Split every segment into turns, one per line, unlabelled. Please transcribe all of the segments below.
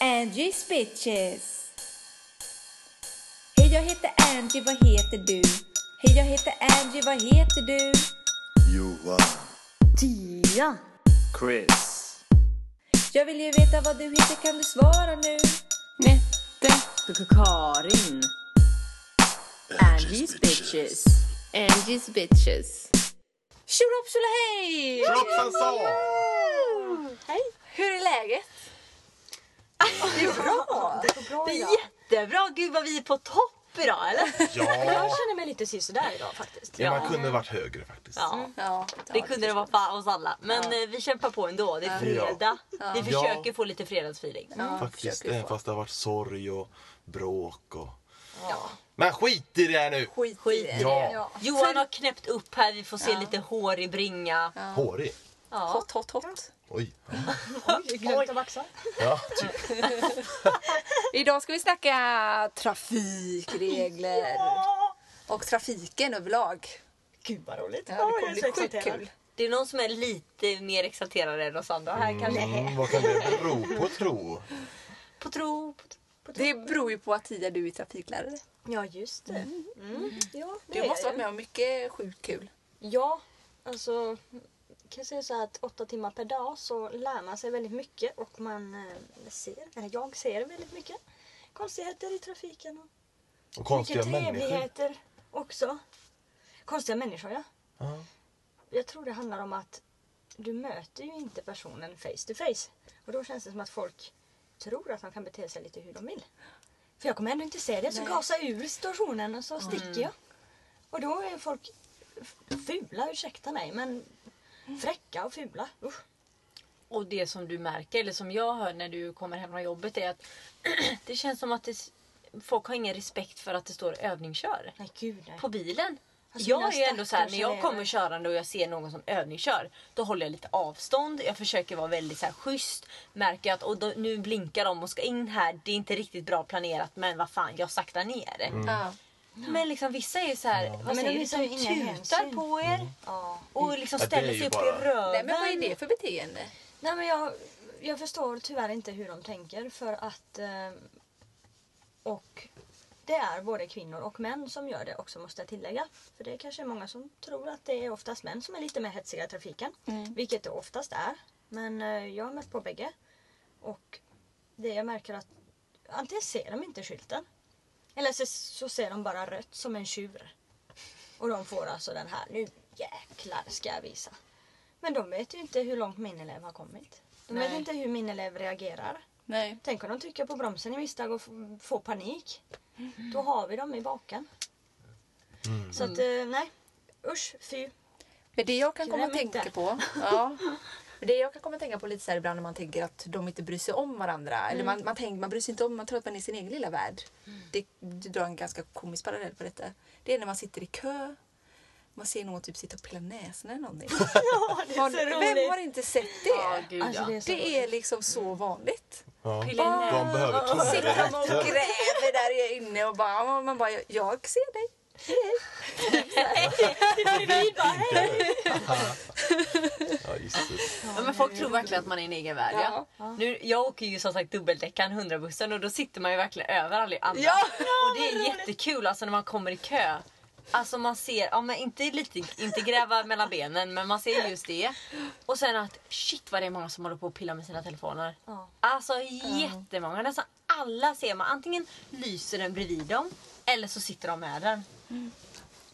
Angies bitches! Hej jag heter Angie, vad heter du? Hej jag heter Angie, vad heter du?
Johan.
Tia.
Chris.
Jag vill ju veta vad du heter, kan du svara nu?
Nette. Karin. Angies bitches. Angies bitches. Tjolahopp tjolahej!
Kroppen sa!
Hur är läget?
Det är
Jättebra! Gud vad vi är på topp idag eller?
Jag
Ja.
känner mig lite sisådär idag faktiskt. Mm.
ja, man kunde varit högre faktiskt.
Ja,
Ja.
det kunde det vara för oss alla. Men eh, vi kämpar på ändå. Det är fredag. Vi försöker få lite fredagsfeeling.
faktiskt. Även fast det har varit sorg och bråk och... Men skit i det här nu!
Skit, Skit i
Ja.
det. Johan har knäppt upp här. Vi får se lite hår i bringa.
Hårig.
Ja.
Hot, hot, hot.
Oj.
Glömt att vaxa.
Ja, typ.
Idag ska vi snacka trafikregler. Och trafiken överlag.
Gud vad roligt.
Ja, det kommer bli sjukt kul.
Det är någon som är lite mer exalterad än oss andra här kanske.
Mm, vad kan det bero på tro?
På tro. På tro.
Det beror ju på att Tia, du är trafiklärare.
Ja just det. Ja, det är
Du måste ha varit
jag.
med om mycket sjukt kul.
Ja, alltså kan jag säga så här att åtta timmar per dag så lär man sig väldigt mycket och man eh, ser, eller jag ser väldigt mycket konstigheter i trafiken och
Och konstiga
mycket
människor.
trevligheter också. Konstiga människor ja.
Ja.
Jag tror det handlar om att du möter ju inte personen face to face. Och då känns det som att folk tror att de kan bete sig lite hur de vill. För jag kommer ändå inte se det, så gasar jag ur situationen och så sticker jag. Och då är folk f- fula, ursäkta mig, men fräcka och fula. Usch.
Och det som du märker, eller som jag hör när du kommer hem från jobbet är att det känns som att det, folk har ingen respekt för att det står övningskör.
Nej gud nej.
på bilen.
Alltså, mina
jag är ändå så här, när
stackars
jag
elever.
kommer körande och jag ser någon som övningskör, då håller jag lite avstånd. Jag försöker vara väldigt så här, schysst. Märker att och då, nu blinkar de och ska in här. Det är inte riktigt bra planerat, men vad fan, jag saktar ner.
Ja.
Men liksom vissa är ju så här, vad
Mm. Men
säger
de
vi som
visar ju inga
tutar
hänsyn.
på er
Ja.
och liksom
Mm. Ja, det är
ställer
ju
sig upp
bara-
i röven.
Nej, men vad är det för beteende?
Nej men jag, jag förstår tyvärr inte hur de tänker för att eh, och det är både kvinnor och män som gör det också måste jag tillägga. För det är kanske många som tror att det är oftast män som är lite mer hetsiga i trafiken. Vilket det oftast är. Men eh, jag har mött på bägge. Och det jag märker att antingen ser de inte skylten. Eller så, så ser de bara rött som en tjur. Och de får alltså den här, nu jäklar ska jag visa. Men de vet ju inte hur långt min elev har kommit. De vet
Nej.
inte hur min elev reagerar.
Nej.
Tänk om de trycker på bromsen i misstag och f- får panik. Då har vi dem i baken. Så att, eh, nej. Usch, fy.
Men det jag kan komma att
Glöm inte.
tänka på. Ja. Det jag kan komma att tänka på lite så här ibland när man tänker att de inte bryr sig om varandra. Eller man, man, tänker, man bryr sig inte om, man tror att man är i sin egen lilla värld. Det, du drar en ganska komisk parallell på detta. Det är när man sitter i kö. Man ser någon typ sitta och pilla näsan eller någonting.
Ja, det
Har, vem har inte sett det?
Ja, gud,
Alltså,
ja.
det är så
Det är liksom så vanligt.
Ja.
Pilla in
De
näven.
behöver
Sitter
tomma
de och
rutor.
gräver där inne och bara, man bara, jag, jag ser dig.
Ja, jisses.
Ja, men folk tror verkligen att man är i en egen värld. Ja. Nu, jag åker ju som sagt dubbeldäckaren 100-bussen och då sitter man ju verkligen över alla andra.
Ja.
och det är jättekul alltså när man kommer i kö. Alltså man ser, ja men inte, lite, inte gräva mellan benen men man ser just det. Och sen att shit vad det är många som håller på och pillar med sina telefoner.
Ja.
Alltså jättemånga, nästan alla ser man. Antingen lyser den bredvid dem eller så sitter de med den.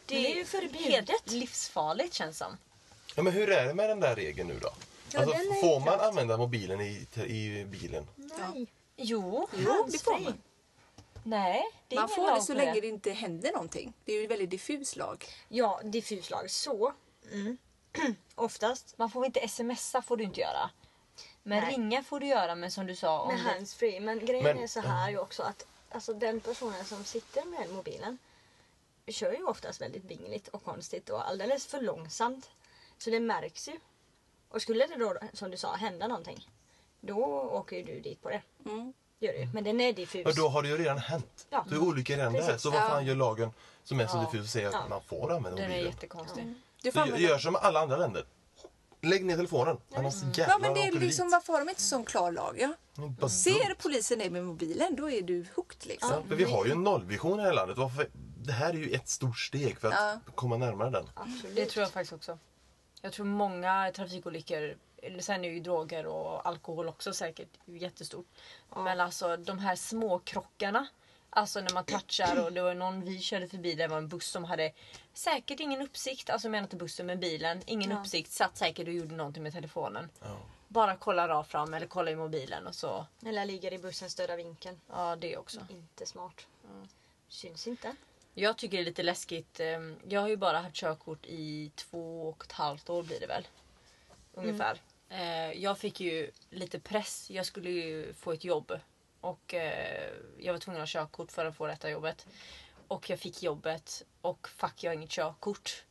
Det,
Men det är ju förbjudet.
helt livsfarligt känns som.
Ja, men hur är det med den där regeln nu då?
Ja,
Alltså,
den är
får man använda mobilen i, i bilen?
Nej.
Jo,
Jo, det får man.
Handsfri.
nej. Det är
Man
ingen
får det
lag
så
på
länge det inte händer någonting. Det är ju en väldigt diffus lag.
Ja, diffus lag. Så. Mm. Oftast.
Man får inte smsa får du inte göra. Men
Nej.
ringa får du göra men som du sa om
Med
det,
handsfree. Men grejen
Men-
är så här ju också att alltså, den personen som sitter med mobilen kör ju oftast väldigt vingligt och konstigt och alldeles för långsamt. Så det märks ju. Och skulle det då, som du sa, hända någonting. Då åker ju du dit på det.
Mm.
Det gör du ju. Men den är diffus.
Ja, då har det ju redan hänt.
Ja.
Då är olyckan redan där.
Precis.
Så vad fan gör lagen som är så
Ja.
diffus och säger att
Ja.
man får använda
den är
mobilen?
jättekonstig.
Du får
Så gö-
använda
Gör som alla andra länder. Lägg ner telefonen. Annars jävlar
Ja, men det är
åker du
liksom,
dit.
varför har de inte sån klar lag? Ja?
Bara dumt.
Ser polisen dig med mobilen, då är du hooked liksom.
Ja, för vi har ju en nollvision i det här landet. Varför? Det här är ju ett stort steg för att komma närmare den.
Det tror jag faktiskt också. Jag tror många trafikolyckor, eller sen är ju droger och alkohol också säkert jättestort. Men alltså de här små krockarna. Alltså när man touchar och det var någon vi körde förbi där var en buss som hade säkert ingen uppsikt. Alltså jag menar inte bussen men bilen. Ingen uppsikt. Satt säkert och gjorde någonting med telefonen. Bara kollar av fram eller kollar i mobilen och så.
Eller ligger i bussens döda vinkel.
Ja det också.
Inte smart. Syns inte.
Jag tycker det är lite läskigt. ehm, Jag har ju bara haft körkort i två och ett halvt år blir det väl. Ungefär. Eh, Jag fick ju lite press. Jag skulle ju få ett jobb. Och eh, jag var tvungen att ha körkort för att få detta jobbet. Och jag fick jobbet och fuck jag har inget körkort.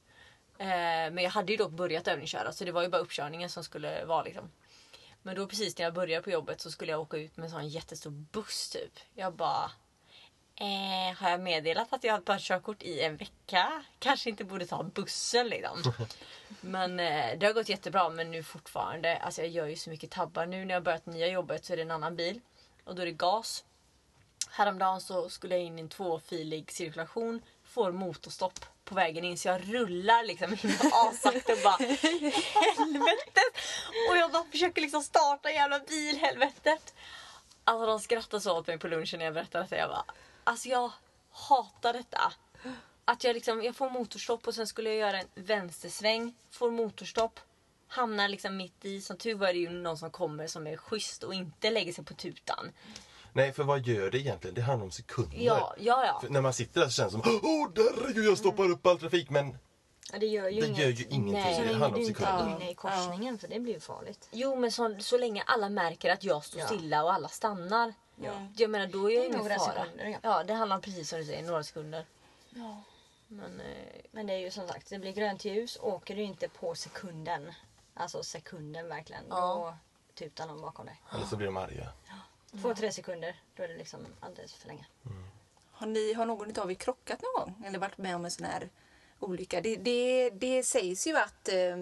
Eh, Men jag hade ju dock börjat övningsköra så det var ju bara uppkörningen som skulle vara liksom. Men då precis när jag började på jobbet så skulle jag åka ut med en sån jättestor buss typ. Jag bara Eh, har jag meddelat att jag har tagit körkort i en vecka? Kanske inte borde ta bussen liksom. Men eh, det har gått jättebra men nu fortfarande, alltså jag gör ju så mycket tabbar. Nu när jag börjat nya jobbet så är det en annan bil och då är det gas. Häromdagen så skulle jag in i en tvåfilig cirkulation, får motorstopp på vägen in så jag rullar liksom in assakta och bara helvetet! Och jag bara försöker liksom starta jävla bilhelvetet. Alltså de skrattade så åt mig på lunchen när jag berättade detta. Jag bara, alltså jag hatar detta. Att jag liksom, jag får motorstopp och sen skulle jag göra en vänstersväng, får motorstopp, hamnar liksom mitt i. Som tur var är det ju någon som kommer som är schysst och inte lägger sig på tutan.
Nej, för vad gör det egentligen? Det handlar om sekunder.
Ja, ja, ja.
För när man sitter där så känns det som Åh, herregud, jag stoppar upp all trafik. Men
Ja, det gör ju
det
inget.
gör ju ingenting.
Nej.
Så
Det
länge
handlar
du
om
inte
sekunder.
är inne i korsningen för det blir ju farligt.
Jo men så, så länge alla märker att jag står
Ja.
stilla och alla stannar. Mm. Jag menar då är jag ingen
Några
fara.
sekunder, ja.
ja det handlar om precis som du säger, några sekunder. Men eh,
Men det är ju som sagt, det blir grönt ljus åker du inte på sekunden. Alltså sekunden verkligen. Då tutar någon bakom dig.
Eller så blir de arga.
Två, tre sekunder, då är det liksom alldeles för länge.
Har, ni, har någon utav er krockat någon gång? Eller varit med om en sån här olycka? Det, det, det sägs ju att, eh,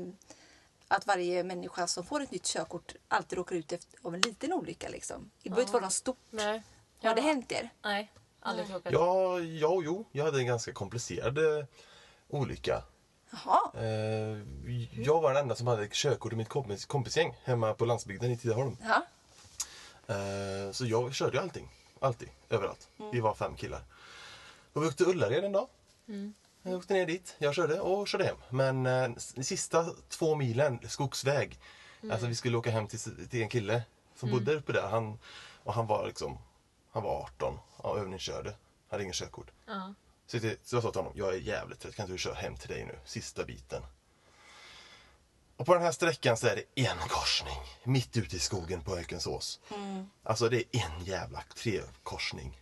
att varje människa som får ett nytt körkort alltid råkar ut efter, av en liten olycka. Liksom. Det behöver inte vara något stort.
nej.
Har det hänt er?
Nej, aldrig krockat.
Ja, ja, jo. Jag hade en ganska komplicerad eh, olycka.
Jaha.
Eh, jag var den enda som hade körkort i mitt kompis, kompisgäng hemma på landsbygden i Tidaholm.
Ja.
Eh, så jag körde ju allting. Alltid. Överallt. Vi var fem killar. Och vi åkte till Ullared en dag. Jag åkte ner dit. Jag körde och körde hem. Men eh, s- de sista två milen skogsväg. Alltså vi skulle åka hem till, s- till en kille som bodde uppe där. Han, och han var liksom, han var 18 och övningskörde. Hade ingen körkort.
Ja.
Så, det, så jag sa till honom, jag är jävligt trött, kan inte du köra hem till dig nu, sista biten. Och på den här sträckan så är det en korsning, mitt ute i skogen på Ökensås. Alltså det är en jävla trekorsning.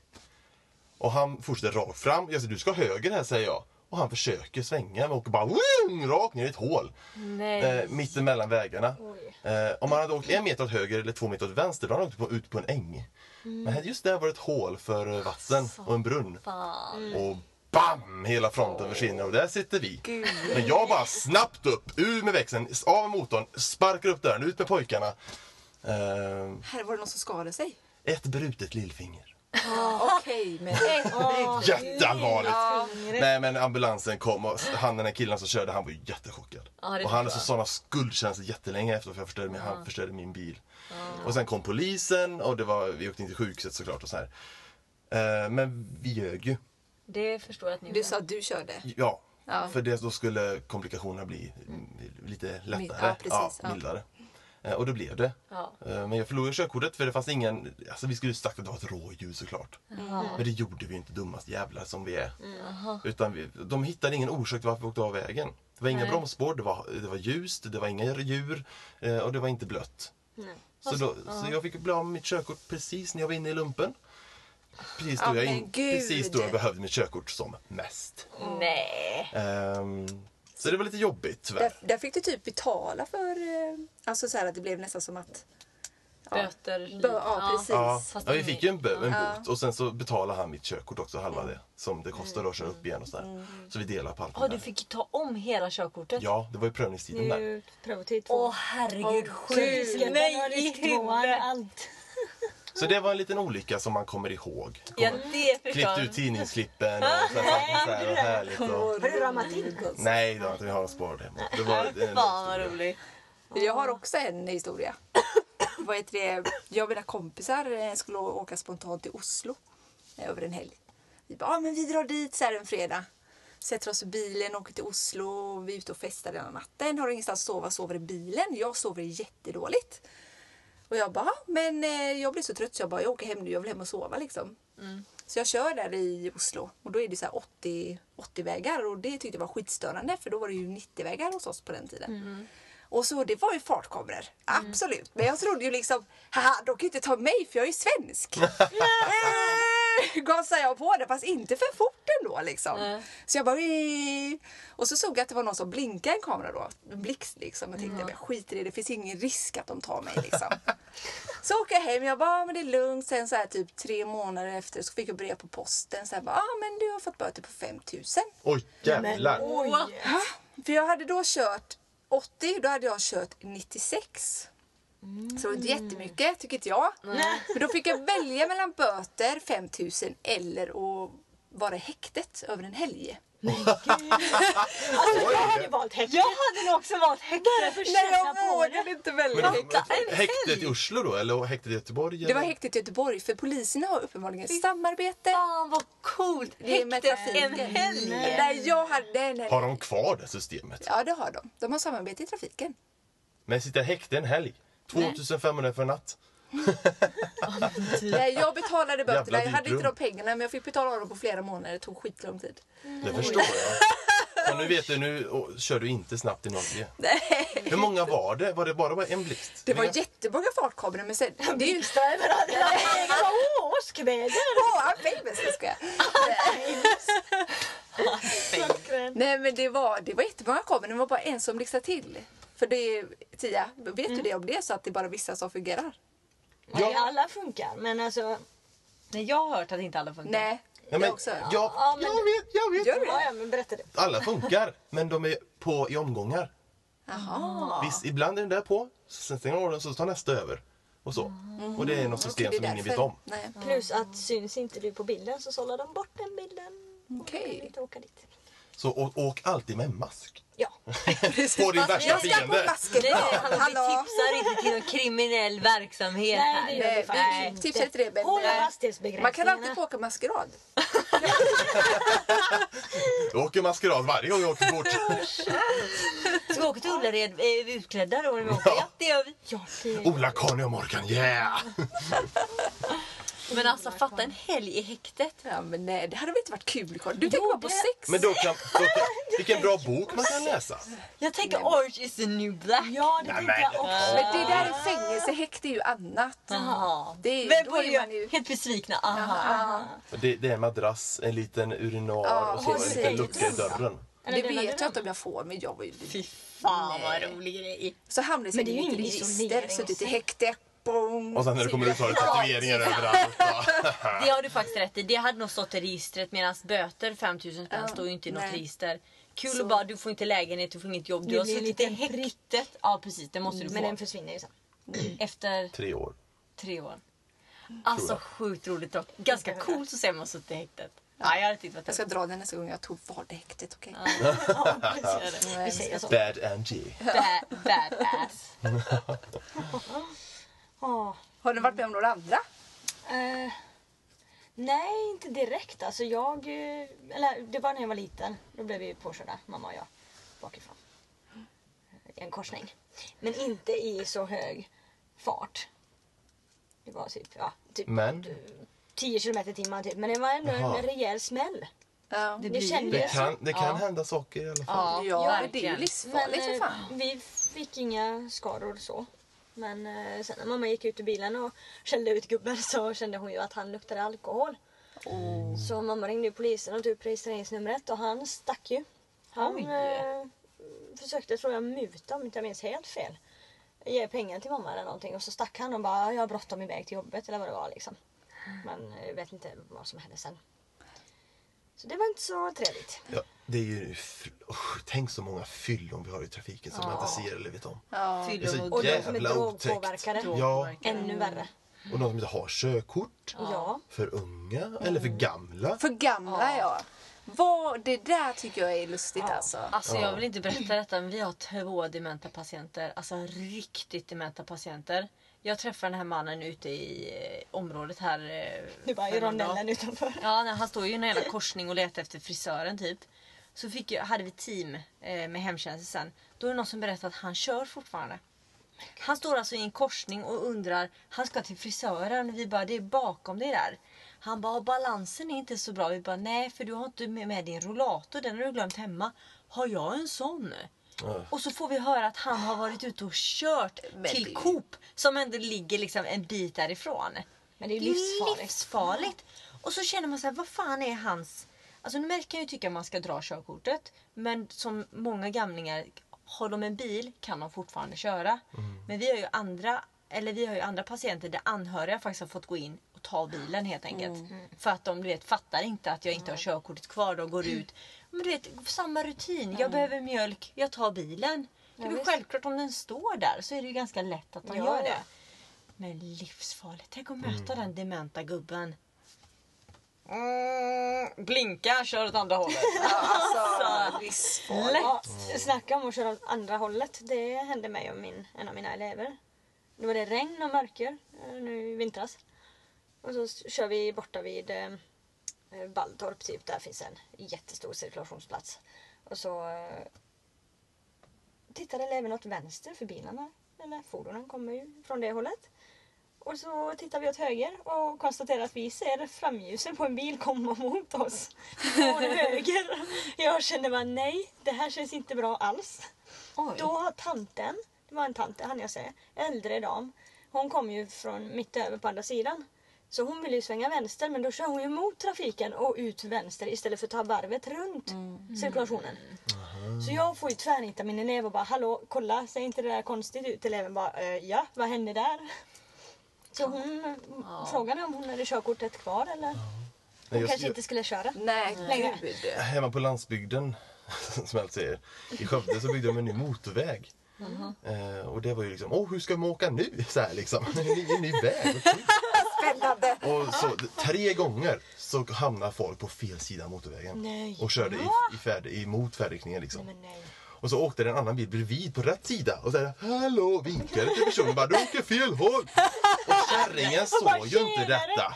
Och han fortsätter rakt fram, jag säger du ska höger här säger jag. Och han försöker svänga och bara vroom, rakt ner i ett hål.
Nej.
Eh, mitt emellan vägarna. Eh, om han hade åkt en meter åt höger eller två meter åt vänster då hade han åkt på, ut på en äng. Men just där var det ett hål för eh, vatten och en brunn.
Fan.
Och BAM! Hela fronten försvinner och där sitter vi. Men jag bara snabbt upp, ur med växeln, av med motorn, sparkar upp dörren, ut med pojkarna. Eh,
Här var det någon som skadade sig.
ett brutet lillfinger.
Okej, men
Jätteallvarligt! Nej men ambulansen kom och han den här killen som körde han var ju jättechockad.
Ja, det
och han hade
förstår
så sådana skuldkänslor jättelänge efter för jag förstörde min, han förstörde min bil. Och sen kom polisen och det var, vi åkte in till sjukhuset såklart och så här. Eh, men vi ljög ju.
Det förstår jag att ni
du
gjorde.
sa att du körde.
Ja,
Ja.
för det, då skulle komplikationerna bli mm, lite lättare.
Ja, precis, ja.
mildare. Eh, Och det blev det.
Ja.
Eh, Men jag förlorade körkortet för det fanns ingen... Alltså vi skulle ju sagt att det var ett rådjur såklart. Men det gjorde vi inte dummast jävlar som vi är.
Mm,
Utan vi, de hittade ingen orsak till varför vi åkte av vägen. Det var inga bromsspår, det var, det var ljust, det var inga djur eh, och det var inte blött. Så, då, så jag fick bli av med mitt körkort precis när jag var inne i lumpen. Precis då,
Ja,
jag,
men
in,
gud.
precis då jag behövde mitt körkort som mest.
Mm. Nej.
Ehm, så det var lite jobbigt tyvärr.
Där, där fick du typ betala för... eh, Alltså så här att det blev nästan som att...
Böter. li-
Bö- ja, precis.
Ja,
Fast
ja, vi
en
fick
bot.
ju en, bö- en
Ja.
bot och sen så betalade han mitt körkort också, halva det. Som det kostar att köra upp igen och sådär. Så vi delar på allt
Ja,
det
du
där.
fick ta om hela körkortet.
Ja, det var ju prövningstiden där.
Nu prövotid två.
Åh herregud, sjukt.
Nej,
Nej, i
risk tvåan,
huvudet.
allt.
Så det var en liten olycka som man kommer ihåg.
Ja, det
Klippt
förstår
ut tidningsklippen och så här, så här och härligt. Och...
Har du ramat in Guds?
Nej, det var inte. Vi har en sparat hemma. Det var en
Fan vad
historia.
roligt.
Jag har också en historia. Vad heter det? Jag och mina kompisar eh, skulle å- åka spontant till Oslo eh, över en helg. Vi bara, ah, men vi drar dit så här en fredag. Sätter oss i bilen, åker till Oslo, vi är ute och festar hela natten. Har ingenstans att sova, sover i bilen. Jag sover jättedåligt. Och jag bara, "Ah, men eh, jag blir så trött så jag bara, jag åker hem nu, jag vill hem och sova liksom. Så jag kör där i Oslo och då är det så här 80, 80 vägar och det tyckte jag var skitstörande för då var det ju 90 vägar hos oss på den tiden. Och så det var ju fartkameror, absolut. Men jag trodde ju liksom, haha de kan ju inte ta mig för jag är ju svensk. Eh, Gasade jag på det fast inte för fort ändå liksom. Så jag bara "Ii." Och så såg jag att det var någon som blinkade en kamera då, en blixt liksom. Jag tänkte, men skit i det, det finns ingen risk att de tar mig liksom. Så åker jag hem, jag bara, "Ah, men det är lugnt. Sen så här typ tre månader efter så fick jag brev på posten. Så här bara, ah, men du har fått böter på 5000.
Oj, jävlar.
För jag hade då kört 80, då hade jag kört 96. Så det var inte jättemycket, tycker inte jag. För då fick jag välja mellan böter, 5000 eller att vara i häktet över en helg.
Alltså, jag hade valt häktet. Jag hade nog också valt häktet. Bara för att
Nej,
känna
jag
på det.
vågade inte välja
Men,
häktet.
häktet i Oslo då, eller häktet i Göteborg?
Det var
eller?
häktet i Göteborg, för poliserna har uppenbarligen samarbete.
Fan vad coolt.
Det är med
Häktet en
trafiken.
helg.
Nej, jag hade... Nej, nej.
Har de kvar det systemet?
Ja, det har de. De har samarbete i trafiken.
Men sitta i häkte en helg? 2500 för en natt?
Nej, jag betalade
Jävla
böterna. Jag
dyrt
hade inte
rum.
de pengarna, men jag fick betala av dem på flera månader. Det tog skitlång tid.
Det förstår jag. Och nu vet du, nu och, kör du inte snabbt i Norge.
Nej.
Hur många var det? Var det bara, bara en blixt?
Det var
Men-
jättemånga fartkameror, men sen... Det är ju...
Blixtar överallt. Åh, åskväder.
Åh, I'm famous! Jag skojar. Nej, men det var, det var jättemånga kameror. Det var bara en som blixtrade till. För det... Tia, vet du det om det? är Så att det är bara vissa som fungerar?
Nej, alla funkar, men alltså...
Nej, jag har hört att inte alla funkar.
Nej.
Nej,
det
men,
också.
jag,
Ja, men-
jag vet, jag vet.
Gör du
Ja,
det?
ja, men berätta det.
Alla funkar, men de är på i omgångar.
Jaha.
Visst, ibland är den där på, sen stänger de av den så tar nästa över. Och så. Och det är något
Mm.
system
Okej, det är
som ingen vet
därför.
om.
Nej.
Plus att syns inte du på bilden så sållar de bort den bilden.
Okej.
Och kan inte åka dit.
Så å- åk alltid med mask.
Ja.
På din värsta
Jag ska på
fiende.
masken.
Nej, hallå, vi
Hallå.
tipsar inte till någon kriminell verksamhet
Nej, det
här.
gör vi
Nej,
faktiskt
vi
inte.
tipsar inte det, men-
Håll
Nej.
hastighetsbegränsningarna.
Man kan alltid få åka maskerad.
Jag åker maskerad varje gång jag åker bort.
Ska vi åka till Ullared? Är vi utklädda då? när vi åker? Ja, det gör vi.
Ja, det...
Ola, Conny och Morgan, yeah!
Men alltså fatta en helg i häktet.
Ja, men nej, det hade väl inte varit kul? Karin? Du tänker bara på sex.
Men då kan, då kan, vilken bra bok man kan läsa.
Jag tänker Orange is the new black.
Ja, det
Nej,
tänkte jag
men-
också.
Men det där är fängelse, häkte är ju annat.
Aha.
Det är-
Men
då
borde
är
jag
man ju-
helt besvikna. Aha.
Det, det är en madrass, en liten urinar
Ja,
och så en
precis.
liten lucka i dörren.
Det vet jag inte om jag får, men jag var ju...
Fy fan vad rolig grej.
Så hamnade jag sen
det är
i
ju
mitt
ingen
register,
isolering.
suttit i häkte. Boom.
Och sen när du kommer ut så har du tatueringar överallt.
Det har du faktiskt rätt i. Det hade nog stått i registret medan böter 5000 spänn står ju inte i något
nej.
register. Kul
Så.
och bara du får inte lägenhet, du får inget jobb,
Det
du har
blir en
suttit i
liten prick. Mm,
häktet. Ja precis, det måste du
Men
få.
den försvinner ju sen.
Efter
Tre år.
tre år.
Mm.
Alltså
jag.
sjukt roligt dock. Ganska coolt att se man har suttit i häktet. Ja, jag hade tyckt det var
Jag ska dra den nästa gång jag tog vardehäktet, okej?
Vi
Nej.
säger så.
Bad Angie.
bad, badass.
Ja.
Har du varit med om några andra?
Eh, nej, inte direkt. Alltså jag... eh, Eller det var när jag var liten. Då blev vi påkörda, mamma och jag. Bakifrån. I en korsning. Men inte i så hög fart. Det var typ, ja, typ
Men
10 km i timmen typ. Men det var ändå
Jaha.
en rejäl smäll.
Ja,
Det kändes
det kan, det kan
Ja.
hända saker i alla fall.
Ja,
ja men det är ju
verkligen.
Men
livsfarligt för
eh,
fan.
vi fick inga skador så. Men eh, sen när mamma gick ut ur bilen och skällde ut gubben så kände hon ju att han luktade alkohol. Så mamma ringde ju polisen och tog upp registreringsnumret och han stack ju. Han
Oj.
eh, försökte tror jag muta om inte jag minns helt fel. ge pengar till mamma eller någonting och så stack han och bara jag har bråttom iväg till jobbet eller vad det var liksom. Men eh, jag vet inte vad som hände sen. Så det var inte så trevligt.
Ja, det är ju... fr- Usch, tänk så många fyllon vi har i trafiken som man inte ser eller vet om.
Ja.
Det är
Fyller
så
och
de som är
jävla otäckt.
drogpåverkade.
Ja,
Ännu värre.
och de som inte har körkort.
Ja.
För unga eller för gamla.
För gamla ja. Vad, det där tycker jag är lustigt alltså.
Alltså jag vill inte berätta detta men vi har två dementa patienter. Alltså riktigt dementa patienter. Jag träffade den här mannen ute i eh, området här. eh,
Det var i
för någon dag.
rondellen utanför.
Ja, nej, han står ju i en jävla korsning och letar efter frisören typ. Så fick jag, hade vi team eh, med hemtjänsten sen. Då är det någon som berättar att han kör fortfarande. Han står alltså i en korsning och undrar, han ska till frisören. Vi bara, det är bakom dig där. Han bara, balansen är inte så bra. Vi bara, nej för du har inte med, med din rollator, den har du glömt hemma. Har jag en sån? Och så får vi höra att han har varit ute och kört
Men det-
till Coop som ändå ligger liksom en bit därifrån.
Men det är livsfarligt.
Livsfarligt. Och så känner man så här, vad fan är hans... Alltså nu märker jag ju tycka att man ska dra körkortet. Men som många gamlingar, har de en bil kan de fortfarande köra. Men vi har ju andra eller vi har ju andra patienter där anhöriga faktiskt har fått gå in och ta bilen helt enkelt.
Mm.
För att de du vet, fattar inte att jag inte har körkortet kvar. De går ut. Men du vet, samma rutin. Jag behöver mjölk, jag tar bilen. Det är väl självklart om den står där så är det ju ganska lätt att de
Ja,
gör
ja.
det. Men livsfarligt. Tänk att möta
Mm.
den dementa gubben. Mm, blinka, kör åt andra hållet.
Alltså, livsfarligt.
Ja, snacka om att köra åt andra hållet. Det hände mig och min, en av mina elever. Då var det regn och mörker eh, nu i vintras. Och så s- kör vi borta vid eh, eh, Valltorp typ. Där finns en jättestor cirkulationsplats. Och så eh, tittade eleverna åt vänster för bilarna, eller fordonen kommer ju från det hållet. Och så tittar vi åt höger och konstaterar att vi ser framljusen på en bil komma mot oss. Från höger. Jag kände bara nej, det här känns inte bra alls.
Oj.
Då har tanten, det var en tant, han jag säga, äldre dam. Hon kom ju från mitt över på andra sidan. Så hon ville ju svänga vänster men då kör hon ju mot trafiken och ut vänster istället för att ta varvet runt cirkulationen. Så jag får ju tvärnita min elev och bara hallå kolla, ser inte det där konstigt ut? Eleven bara "Eh, ja, vad hände där? Så hon frågade om hon hade körkortet kvar eller hon
Nej, jag-
kanske inte skulle köra.
Nej,
Nej.
gud.
Hemma på landsbygden, som jag alltid säger, i Skövde så byggde de en ny motorväg. Eh, och det var ju liksom, åh hur ska man åka nu? Så här liksom, en ny, en ny väg. vad kul.
Spännande.
Och så, tre gånger så hamnar folk på fel sida av motorvägen.
Nej.
Och körde i, i färd, emot färdriktningen liksom.
Men nej.
Och så åkte det en annan bil bredvid på rätt sida och så här, hallå, vinkade till personen bara, du åker fel håll. Och kärringen såg ju inte detta.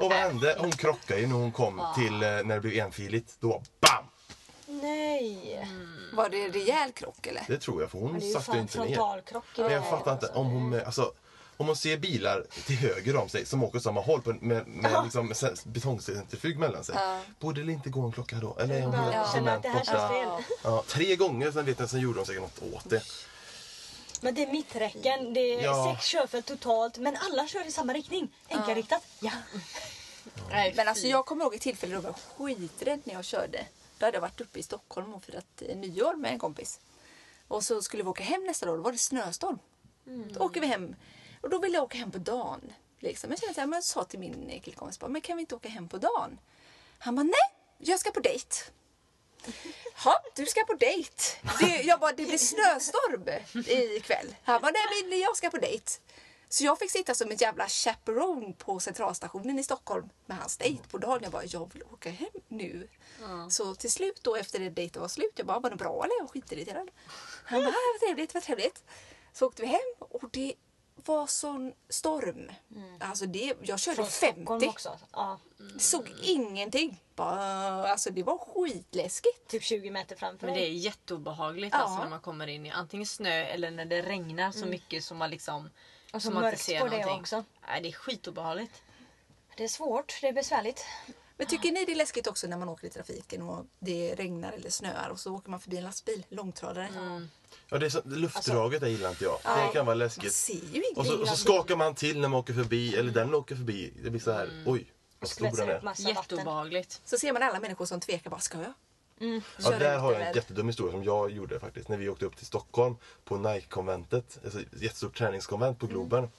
Och vad hände? Hon krockade ju när hon kom till, eh, när det blev enfiligt. Då BAM!
Nej.
Mm. Var det rejäl krock eller?
Det tror jag, för hon
det är ju
satte ju
fan
inte ner.
frontalkrock i
Men
det
jag
här.
fattar inte. Om hon, alltså, om hon ser bilar till höger om sig som åker åt samma håll på, med, med liksom, sen- betongcentrifug mellan sig. Borde det inte gå en klocka då? Eller är hon
Bara
helt
känner att
dement
det här känns
borta?
fel.
Ja, tre gånger, sen vet jag, sen gjorde de säkert något åt det.
Men det är mitträcken, det är
Ja.
sex körfält totalt men alla kör i samma riktning. Enkelriktat. Ja.
Nej,
Men alltså
fy.
jag kommer ihåg ett tillfälle då jag var skiträdd när jag körde. Då hade jag varit uppe i Stockholm och firat eh, nyår med en kompis. Och så skulle vi åka hem nästa dag då var det snöstorm. Då åker vi hem. Och då ville jag åka hem på dagen. Liksom. Jag, kände så här, men jag sa till min eh, killkompis, bara, men kan vi inte åka hem på dagen? Han bara, nej, jag ska på dejt. Ja, du ska på dejt. Det, jag bara, det blir snöstorm ikväll. Han bara, nej men jag ska på dejt. Så jag fick sitta som ett jävla chaperone på centralstationen i Stockholm med hans dejt på dagen. Jag bara, jag vill åka hem nu. Så till slut då efter det dejten var slut, jag bara, var det bra eller? Jag var skitirriterad. Han bara, "Ja, vad trevligt, vad trevligt. Så åkte vi hem och det var sån storm. Alltså det, jag körde 50.
Mm. Stockholm också. alltså. Ja,
Såg ingenting. Bara, alltså det var skitläskigt.
typ 20 meter framför
Men det
dig.
är jätteobehagligt
Ja.
alltså, när man kommer in i antingen snö eller när det regnar så mycket som man liksom...
Och så
Mm. som man inte
mörkt
ser
på det
någonting.
också.
Nej, det är skitobehagligt.
Det är svårt, det är besvärligt.
Men tycker ni det är läskigt också när man åker i trafiken och det regnar eller snöar och så åker man förbi en lastbil, långtradare.
Mm. Ja, det är så, luftdraget det gillar inte jag. Det kan vara
Man
läskigt.
ser ju
Och så,
ingenting.
och så skakar man till när man åker förbi, eller den åker förbi.
Mm.
Det blir så här, oj, vad stor den
Skvätter upp
är.
massa vatten.
Jätteobehagligt.
Så ser man alla människor som tvekar. Bara, ska jag?
Ja,
Kör
där
ut
har jag
det
en
med.
jättedum historia som jag gjorde faktiskt. När vi åkte upp till Stockholm på Nike-konventet. Alltså ett jättestort träningskonvent på
Mm.
Globen.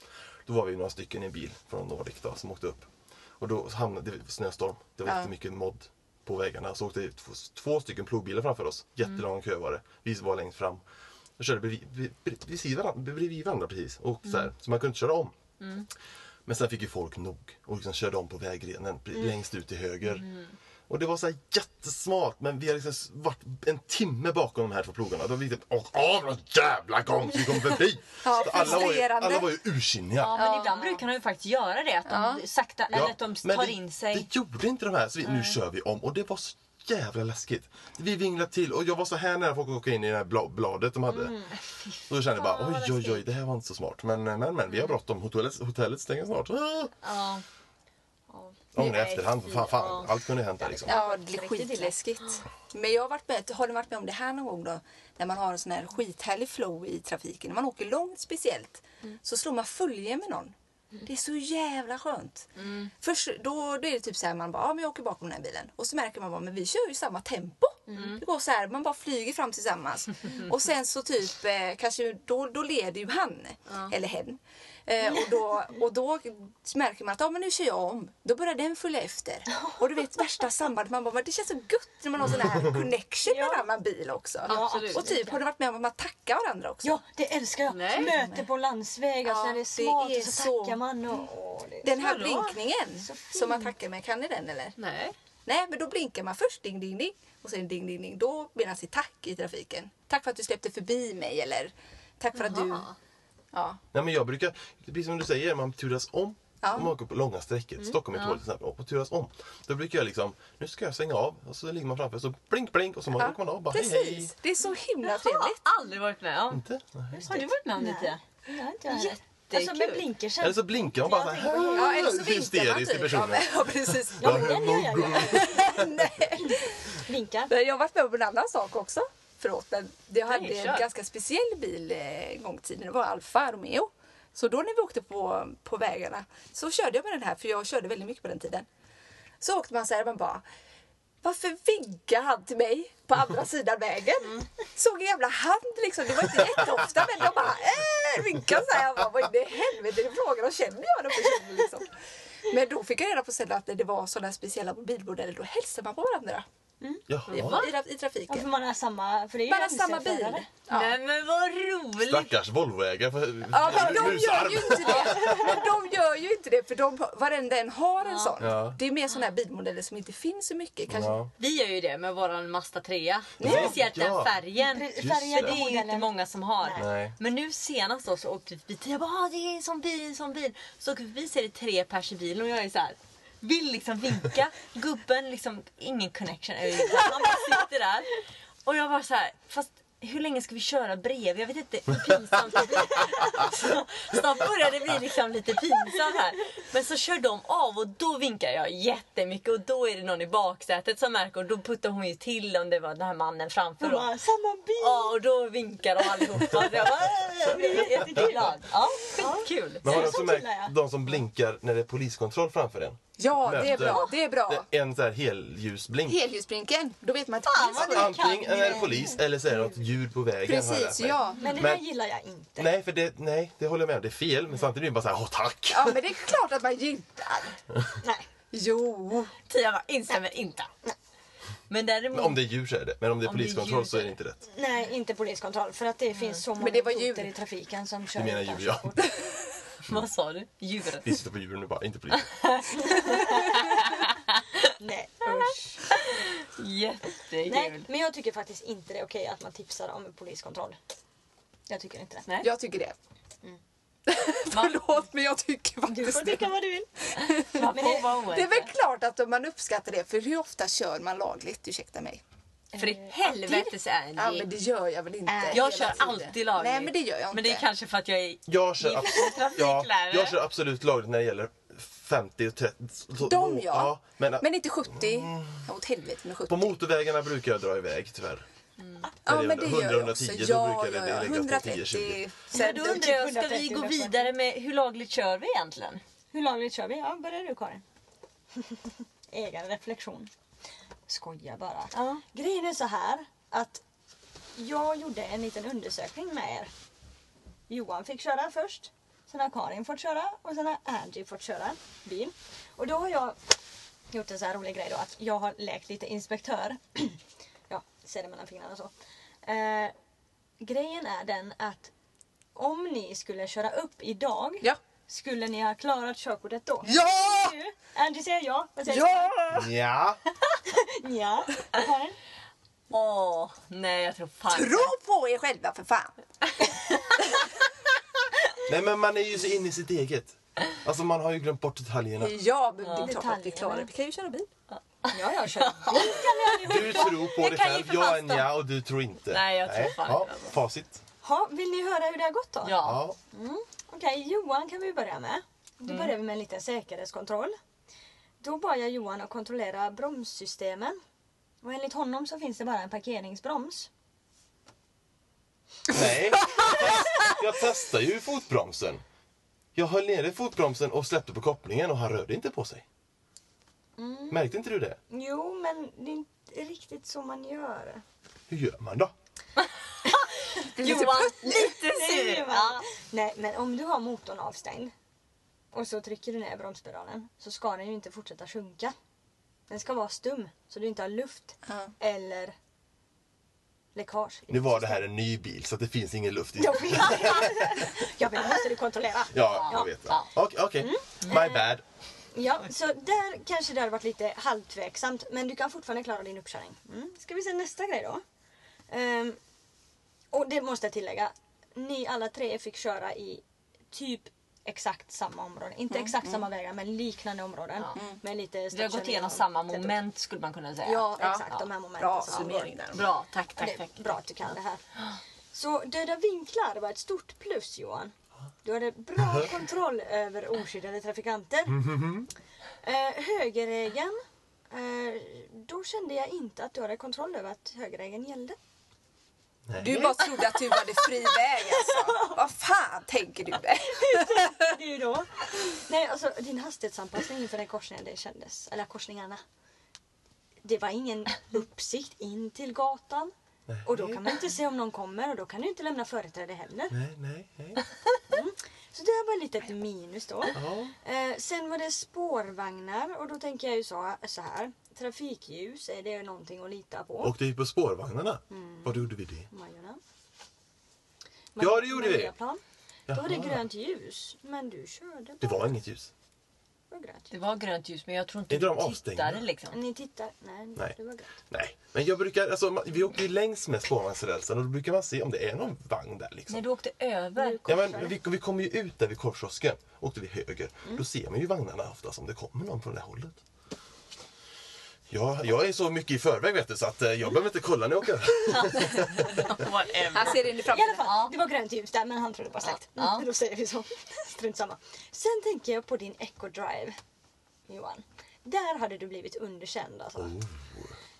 Då var vi några stycken i en bil från Nordic då, som åkte upp. Och då hamnade det var snöstorm. Det var
Ja.
jättemycket modd på vägarna. Så åkte det två, två stycken plogbilar framför oss.
Mm.
Jättelång kö var det. Vi var längst fram. Och körde bredvid, bredvid, bredvid, varandra, bredvid varandra precis. Och så,
Mm.
här, så man kunde inte köra om. Men sen fick ju folk nog och liksom körde om på vägrenen
Mm.
pre- längst ut till höger. Och det var så här jättesmart men vi har liksom s- varit en timme bakom de här två plogarna. Då var vi typ åk av någon jävla gång så vi kom förbi.
Ja,
Så alla, var ju,
frustrerande.
alla var ju ursinniga.
Ja, men ibland brukar de ju faktiskt göra det. Att de sakta,
Ja,
eller att de
men
tar
det,
in sig.
Det gjorde inte de här så vi, nu kör vi om och det var så jävla läskigt. Vi vinglade till och jag var så här nära folk att åka in i det här bla, bladet de hade.
Mm.
Och då kände jag bara oj oj oj det här var inte så smart. Men eh, men, men
Mm.
vi har bråttom. Hotellet, hotellet stänger snart. Ah!
Ja.
Ångrar i
Nej,
efterhand.
fy,
Fan, fan.
ja.
Allt kunde hänt där liksom.
Ja, det är skitläskigt. Men jag har, varit med, har ni varit med om det här någon gång då? När man har en sån här skithärlig flow i trafiken. När man åker långt speciellt så slår man följe med någon. Det är så jävla skönt. Först då, då är det typ så här man bara, ja men jag åker bakom den här bilen. Och så märker man bara, men vi kör ju samma tempo. Det går så här, man bara flyger fram tillsammans. Och sen så typ, eh, kanske då, då leder ju han. Eller hen. Eh, och, då, och då märker man att ja, men nu kör jag om. Då börjar den följa efter. Och du vet värsta sambandet. Man bara, men det känns så gött när man har sån här connection med en annan bil också.
Absolut.
Och typ har du varit med om att man tackar varandra också?
Ja, det älskar jag.
Nej.
Möte på landsväg, alltså
Ja,
när det är
det
smalt
är
och så,
så-
tackar man. Och, åh, det är
Den här
Vadå?
blinkningen som man tackar med, kan ni den eller?
Nej.
Nej, men då blinkar man först ding ding ding och sen ding ding ding. Då blir han sitt tack i trafiken. Tack för att du släppte förbi mig eller tack för att du... Ja.
Nej, men jag brukar, precis som du säger, man turas om.
Ja. Mm.
Om man åker på långa sträckor, Stockholm är tåligt till exempel, och turas om. Då brukar jag liksom, nu ska jag svänga av och så ligger man framför så blink blink och så
ja.
åker man av bara
Precis,
hej hej.
det är så himla
Har
trevligt.
aldrig varit med om.
Inte? Nej.
Har du varit med om
Nej.
lite?
Det har inte jag heller.
Jättekul.
Alltså med blinkersen.
Eller så blinkar man bara så här.
Ja, eller så vinkar man
hysteriskt till
typ. Ja,
personen.
men, ja, precis.
Ja,
men den gör jag ju.
Nej.
Blinkar.
Men jag har varit med om en annan sak också. Förlåt, men jag hade
Nej,
en
kör.
ganska speciell bil eh, en gång i tiden. Det var Alfa Romeo. Så då när vi åkte på, på vägarna så körde jag med den här, för jag körde väldigt mycket på den tiden. Så åkte man så här, man bara varför vinkar han till mig på andra sidan vägen?
Mm.
Såg en jävla hand liksom. Det var inte jätteofta men de bara äh, vinkade så här. Jag bara, vad i helvete är det frågan om? Känner jag den personen liksom? Men då fick jag reda på sen att när det var sådana speciella mobilmodeller. Då hälsar man på varandra
Jaha.
i, i, i
Ja,
trafiken.
för Alltså, man har samma... För det är ju
Bara samma
mc-förare.
bil. Ja.
Nej men vad roligt!
Stackars Volvoägare. för-
Ja, men de gör
Rusarm.
ju inte det. Men de gör ju inte det för de, varenda en har en sån.
Ja.
Det är mer sådana här bilmodeller som inte finns så mycket. Kanske.
Ja.
Vi gör ju det med våran Mazda 3.
Ja.
Speciellt
Ja.
den färgen.
Pre-
Just
Färgade
det.
Det är ju inte
modellen.
många som har.
Nej.
Men nu senast då så åkte vi bil. Jag bara, "Ah, det är en sån bil, en sån bil. Så åker vi förbi så är det tre pers i bilen och jag är så här. Vill liksom vinka. Gubben liksom, ingen connection överhuvudtaget. Han bara sitter där. Och jag bara så här, fast hur länge ska vi köra bredvid? Jag vet inte, hur pinsamt det blir. Så Snart börjar det bli liksom lite pinsamt här. Men så kör de av och då vinkar jag jättemycket och då är det någon i baksätet som märker och då puttar hon ju till om det var den här mannen framför.
De
Då.
bara, samma bil.
Ja, och då vinkar de allihopa. Så jag bara, "Eh, "Äh", blir jätteglad. Ja, skitkul.
Men har
Så
du
sånt
också
gillar jag.
märkt de som blinkar när det är poliskontroll framför en?
Ja, det är
Möte.
bra. Det är bra.
Det är En så här helljusblink.
Helljusblinken, då vet man att
Fan,
det finns
vad
någon.
Antingen
kan
är
ju-
det polis eller så är det något ljud på vägen. har jag lärt
Precis,
mig.
ja.
Men det där
Men-
gillar jag inte.
Nej, för det, nej, det håller jag med om. Det är fel. Men samtidigt är det bara så här, åh tack!
Ja, men det är klart att man gillar.
Nej.
Jo.
Tia bara instämmer inte. Men däremot...
Men om det är djur så är det. Men om det är
Om det är
poliskontroll
djur
så är det
är
inte rätt.
Nej, inte poliskontroll. För att det finns så många
det var
idioter
djur.
i trafiken som kör
Du menar
utan
djur, ja.
körkort.
Vad sa du? Djur.
Vi sitter på djuren nu bara, inte polisen.
Nej, usch.
Jättekul.
Nej, men jag tycker faktiskt inte det är okej att man tipsar om en poliskontroll. Jag tycker inte det.
Nej.
Jag tycker det.
Mm.
Förlåt, men jag tycker
Du får
faktiskt
tycka
det.
vad du vill.
Man
men
får
det-
vara oense.
Det är väl klart att man uppskattar det, för hur ofta kör man lagligt? Ursäkta mig.
För i helvetes
Ja, men
Andy.
det gör jag väl inte.
Äh.
hela
Jag kör
tiden.
alltid lagligt.
Nej, men det gör jag inte.
Men det är kanske för att jag är...
Jag kör, abs- ja,
trafiklärare.
jag kör absolut lagligt när det gäller 50 och 30. så-
De ja.
men,
men inte 70. Ja, åt helvete med 70.
på motorvägarna brukar jag dra iväg tyvärr.
ja,
det är
men det gör jag
100,
också.
110, då
Ja,
brukar
ja,
det- det
ja.
läggas på
130.
10-20.
Men då
Sen-
undrar jag, ska
130
vi gå
eller så.
vidare med... Hur lagligt kör vi egentligen?
Hur lagligt kör vi? Ja, börjar du Karin. Egen reflektion. skojar bara.
Ja.
Grejen är så här att jag gjorde en liten undersökning med er. Johan fick köra först. Sen har Karin fått köra och sen har Angie fått köra bil. Och då har jag gjort en så här rolig grej då att jag har lekt lite inspektör. ja, ser det mellan fingrarna så. Eh, grejen är den att om ni skulle köra upp idag
Ja.
skulle ni ha klarat körkortet då?
Ja!
Du, Angie säger ja. Vad säger
Ja.
du? Ja. Karin?
Åh, nej jag tror fan
Tro på er själva för fan!
Nej men man är ju så inne i sitt eget. Alltså man har ju glömt bort detaljerna.
Ja, men det är klart att vi
Detaljerna.
klarar det. Vi kan ju köra bil.
Ja, jag kör bil kan ni
Du
allihopa.
tror på
Det
dig
kan ju
själv,
för
jag är
fan
en
stå.
ja och du tror inte.
Nej, jag tror fan
ja,
inte.
Facit.
Ha, vill ni höra hur det har gått då?
Ja.
Ja.
Okej, Johan kan vi börja med. Då börjar vi med en liten säkerhetskontroll. Då bad jag Johan att kontrollera bromssystemen. Och enligt honom så finns det bara en parkeringsbroms.
Nej. Jag testade ju fotbromsen. Jag höll nere fotbromsen och släppte på kopplingen och han rörde inte på sig.
Mm.
Märkte inte du det?
Jo, men det är inte riktigt så man gör.
Hur gör man då?
Johan,
typ
lite
Nej,
sur.
Johan. Nej, men om du har motorn avstängd och så trycker du ner bromspedalen så ska den ju inte fortsätta sjunka. Den ska vara stum så du inte har luft
Ja.
eller läckage.
Nu var det här en ny bil så att det finns ingen luft i.
Jag vet. Jag vet, måste du kontrollera.
Ja, jag vet. Ja. Okej, okej.
Mm.
My bad.
Ja, så där kanske det hade varit lite halvtveksamt. Men du kan fortfarande klara din uppkörning. Mm. Ska vi se nästa grej då. Ehm, och det måste jag tillägga. Ni alla tre fick köra i typ exakt samma områden. Inte exakt samma vägar men liknande områden. Med lite
Mm, Vi har gått igenom samma moment skulle man kunna säga.
Ja,
Ja.
exakt. De här momenten.
Bra
som går.
summering där.
Bra, tack tack
Det är
tack.
bra att du kan det här. Så döda vinklar var ett stort plus Johan. Du hade bra kontroll över oskyddade trafikanter. Eh, högerregeln. Eh, då kände jag inte att du hade kontroll över att högerregeln gällde.
Du bara trodde att du hade fri väg alltså. Vad fan tänker du med?
Det är ju då. Nej, alltså din hastighetsanpassning inför den korsningen det kändes, eller korsningarna. Det var ingen uppsikt in till gatan. Och då kan man inte se om någon kommer och då kan du inte lämna företräde heller.
Nej, nej, nej.
Så det var lite ett minus då.
Ja.
Eh, sen var det spårvagnar och då tänker jag ju så, så här. Trafikljus, är det någonting att lita på?
Och det gick på spårvagnarna. Vad gjorde vi det?
Majorna.
Ja, det gjorde vi.
Mariaplan. Då var det
Jaha.
grönt ljus, men du körde
Det
bara
var inget ljus.
på grönt.
Det var grönt ljus men jag tror inte
Är de
vi
avstängda?
tittade liksom.
Ni tittar, nej,
Nej.
det var grönt.
Nej, men jag brukar, alltså, man- vi åker ju längs med spårvagnsrälsen och då brukar man se om det är någon vagn där.
När
Liksom.
du åkte över.
Nu-
Ja, men vi, vi kommer ju ut där vid korvkiosken. Åkte vi höger,
Mm.
då ser man ju vagnarna oftast om det kommer någon från det hållet. Ja, jag är så mycket i förväg vet du, så att eh, jag behöver inte kolla när jag åker.
Han ser in i
I alla
framtiden.
fall, det var grönt ljus där men han trodde bara sagt. Mm,
Ja.
Då säger vi så. Strunt samma. Sen tänker jag på din Echo Drive, Johan. Där hade du blivit underkänd alltså.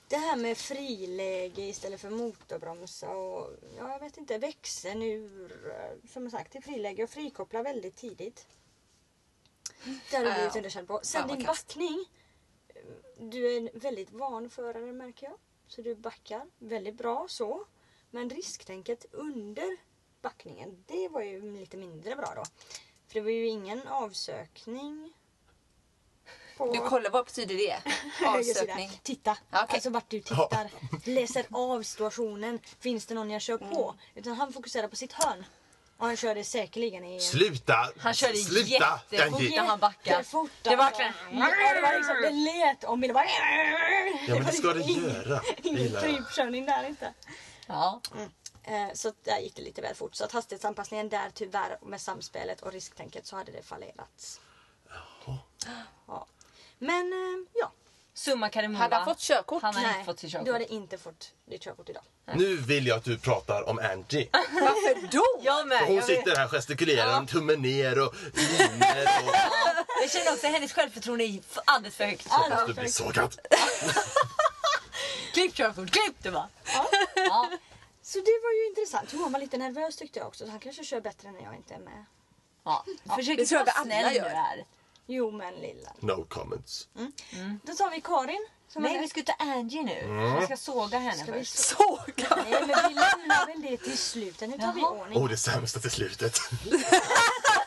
Det här med friläge istället för motorbromsa och ja, jag vet inte, växeln ur eh, som sagt till friläge och frikoppla väldigt tidigt. Där har du blivit
Ja.
underkänd på. Sen
Fan, vad
din
kast.
backning. eh, Du är en väldigt van förare märker jag. Så du backar väldigt bra så. Men risktänket under backningen, det var ju lite mindre bra då. För det var ju ingen avsökning. På
Du kollar, vad betyder det?
höger sida.
Avsökning.
Titta,
Ja, okej.
alltså vart du tittar. Läser av situationen. Finns det någon jag kör på? Utan han fokuserar på sitt hörn. Och han kör det säkerligen i...
Sluta!
Han körde
Sluta!
jättefort
Angie.
när han backade.
Fort,
Det var
alltså. Ja, det var liksom, det lät om bilen. Bara...
Ja, men det ska
var
det
ingen-
göra.
Ingen
Bilar.
typkörning där inte.
Ja.
Eh, Så att där gick det lite väl fort. Så att hastighetsanpassningen där tyvärr med samspelet och risktänket så hade det fallerats. Ja. Men eh, ja.
Summa kardemumma.
Hade han fått körkort?
Han hade
Nej,
inte fått sitt körkort.
Du hade inte fått ditt körkort idag.
Nu vill jag att du pratar om Angie.
Varför då?
Jag med.
Hon
jag, vet.
sitter här och gestikulerar, ja. tummen ner och miner och...
jag känner också att hennes självförtroende är f- alldeles för högt.
Fast du blir sågad.
Klipp körkort, klipp det bara. Ja.
Så det var ju intressant. Johan var lite nervös tyckte jag också. Så han kanske kör bättre när jag inte är med.
Ja. Försök
det tror jag
vara
vi alla
snäll
gör.
med det här.
Jo men lilla.
No comments.
Då tar vi Karin. Som
Nej
har-
vi ska ta Angie nu.
Mm.
Vi ska såga henne
Ska vi
först.
så...
Såga!
Nej men vi lämnar väl det till slutet. Nu tar vi
Jaha.
ordning.
Åh, det sämsta till slutet.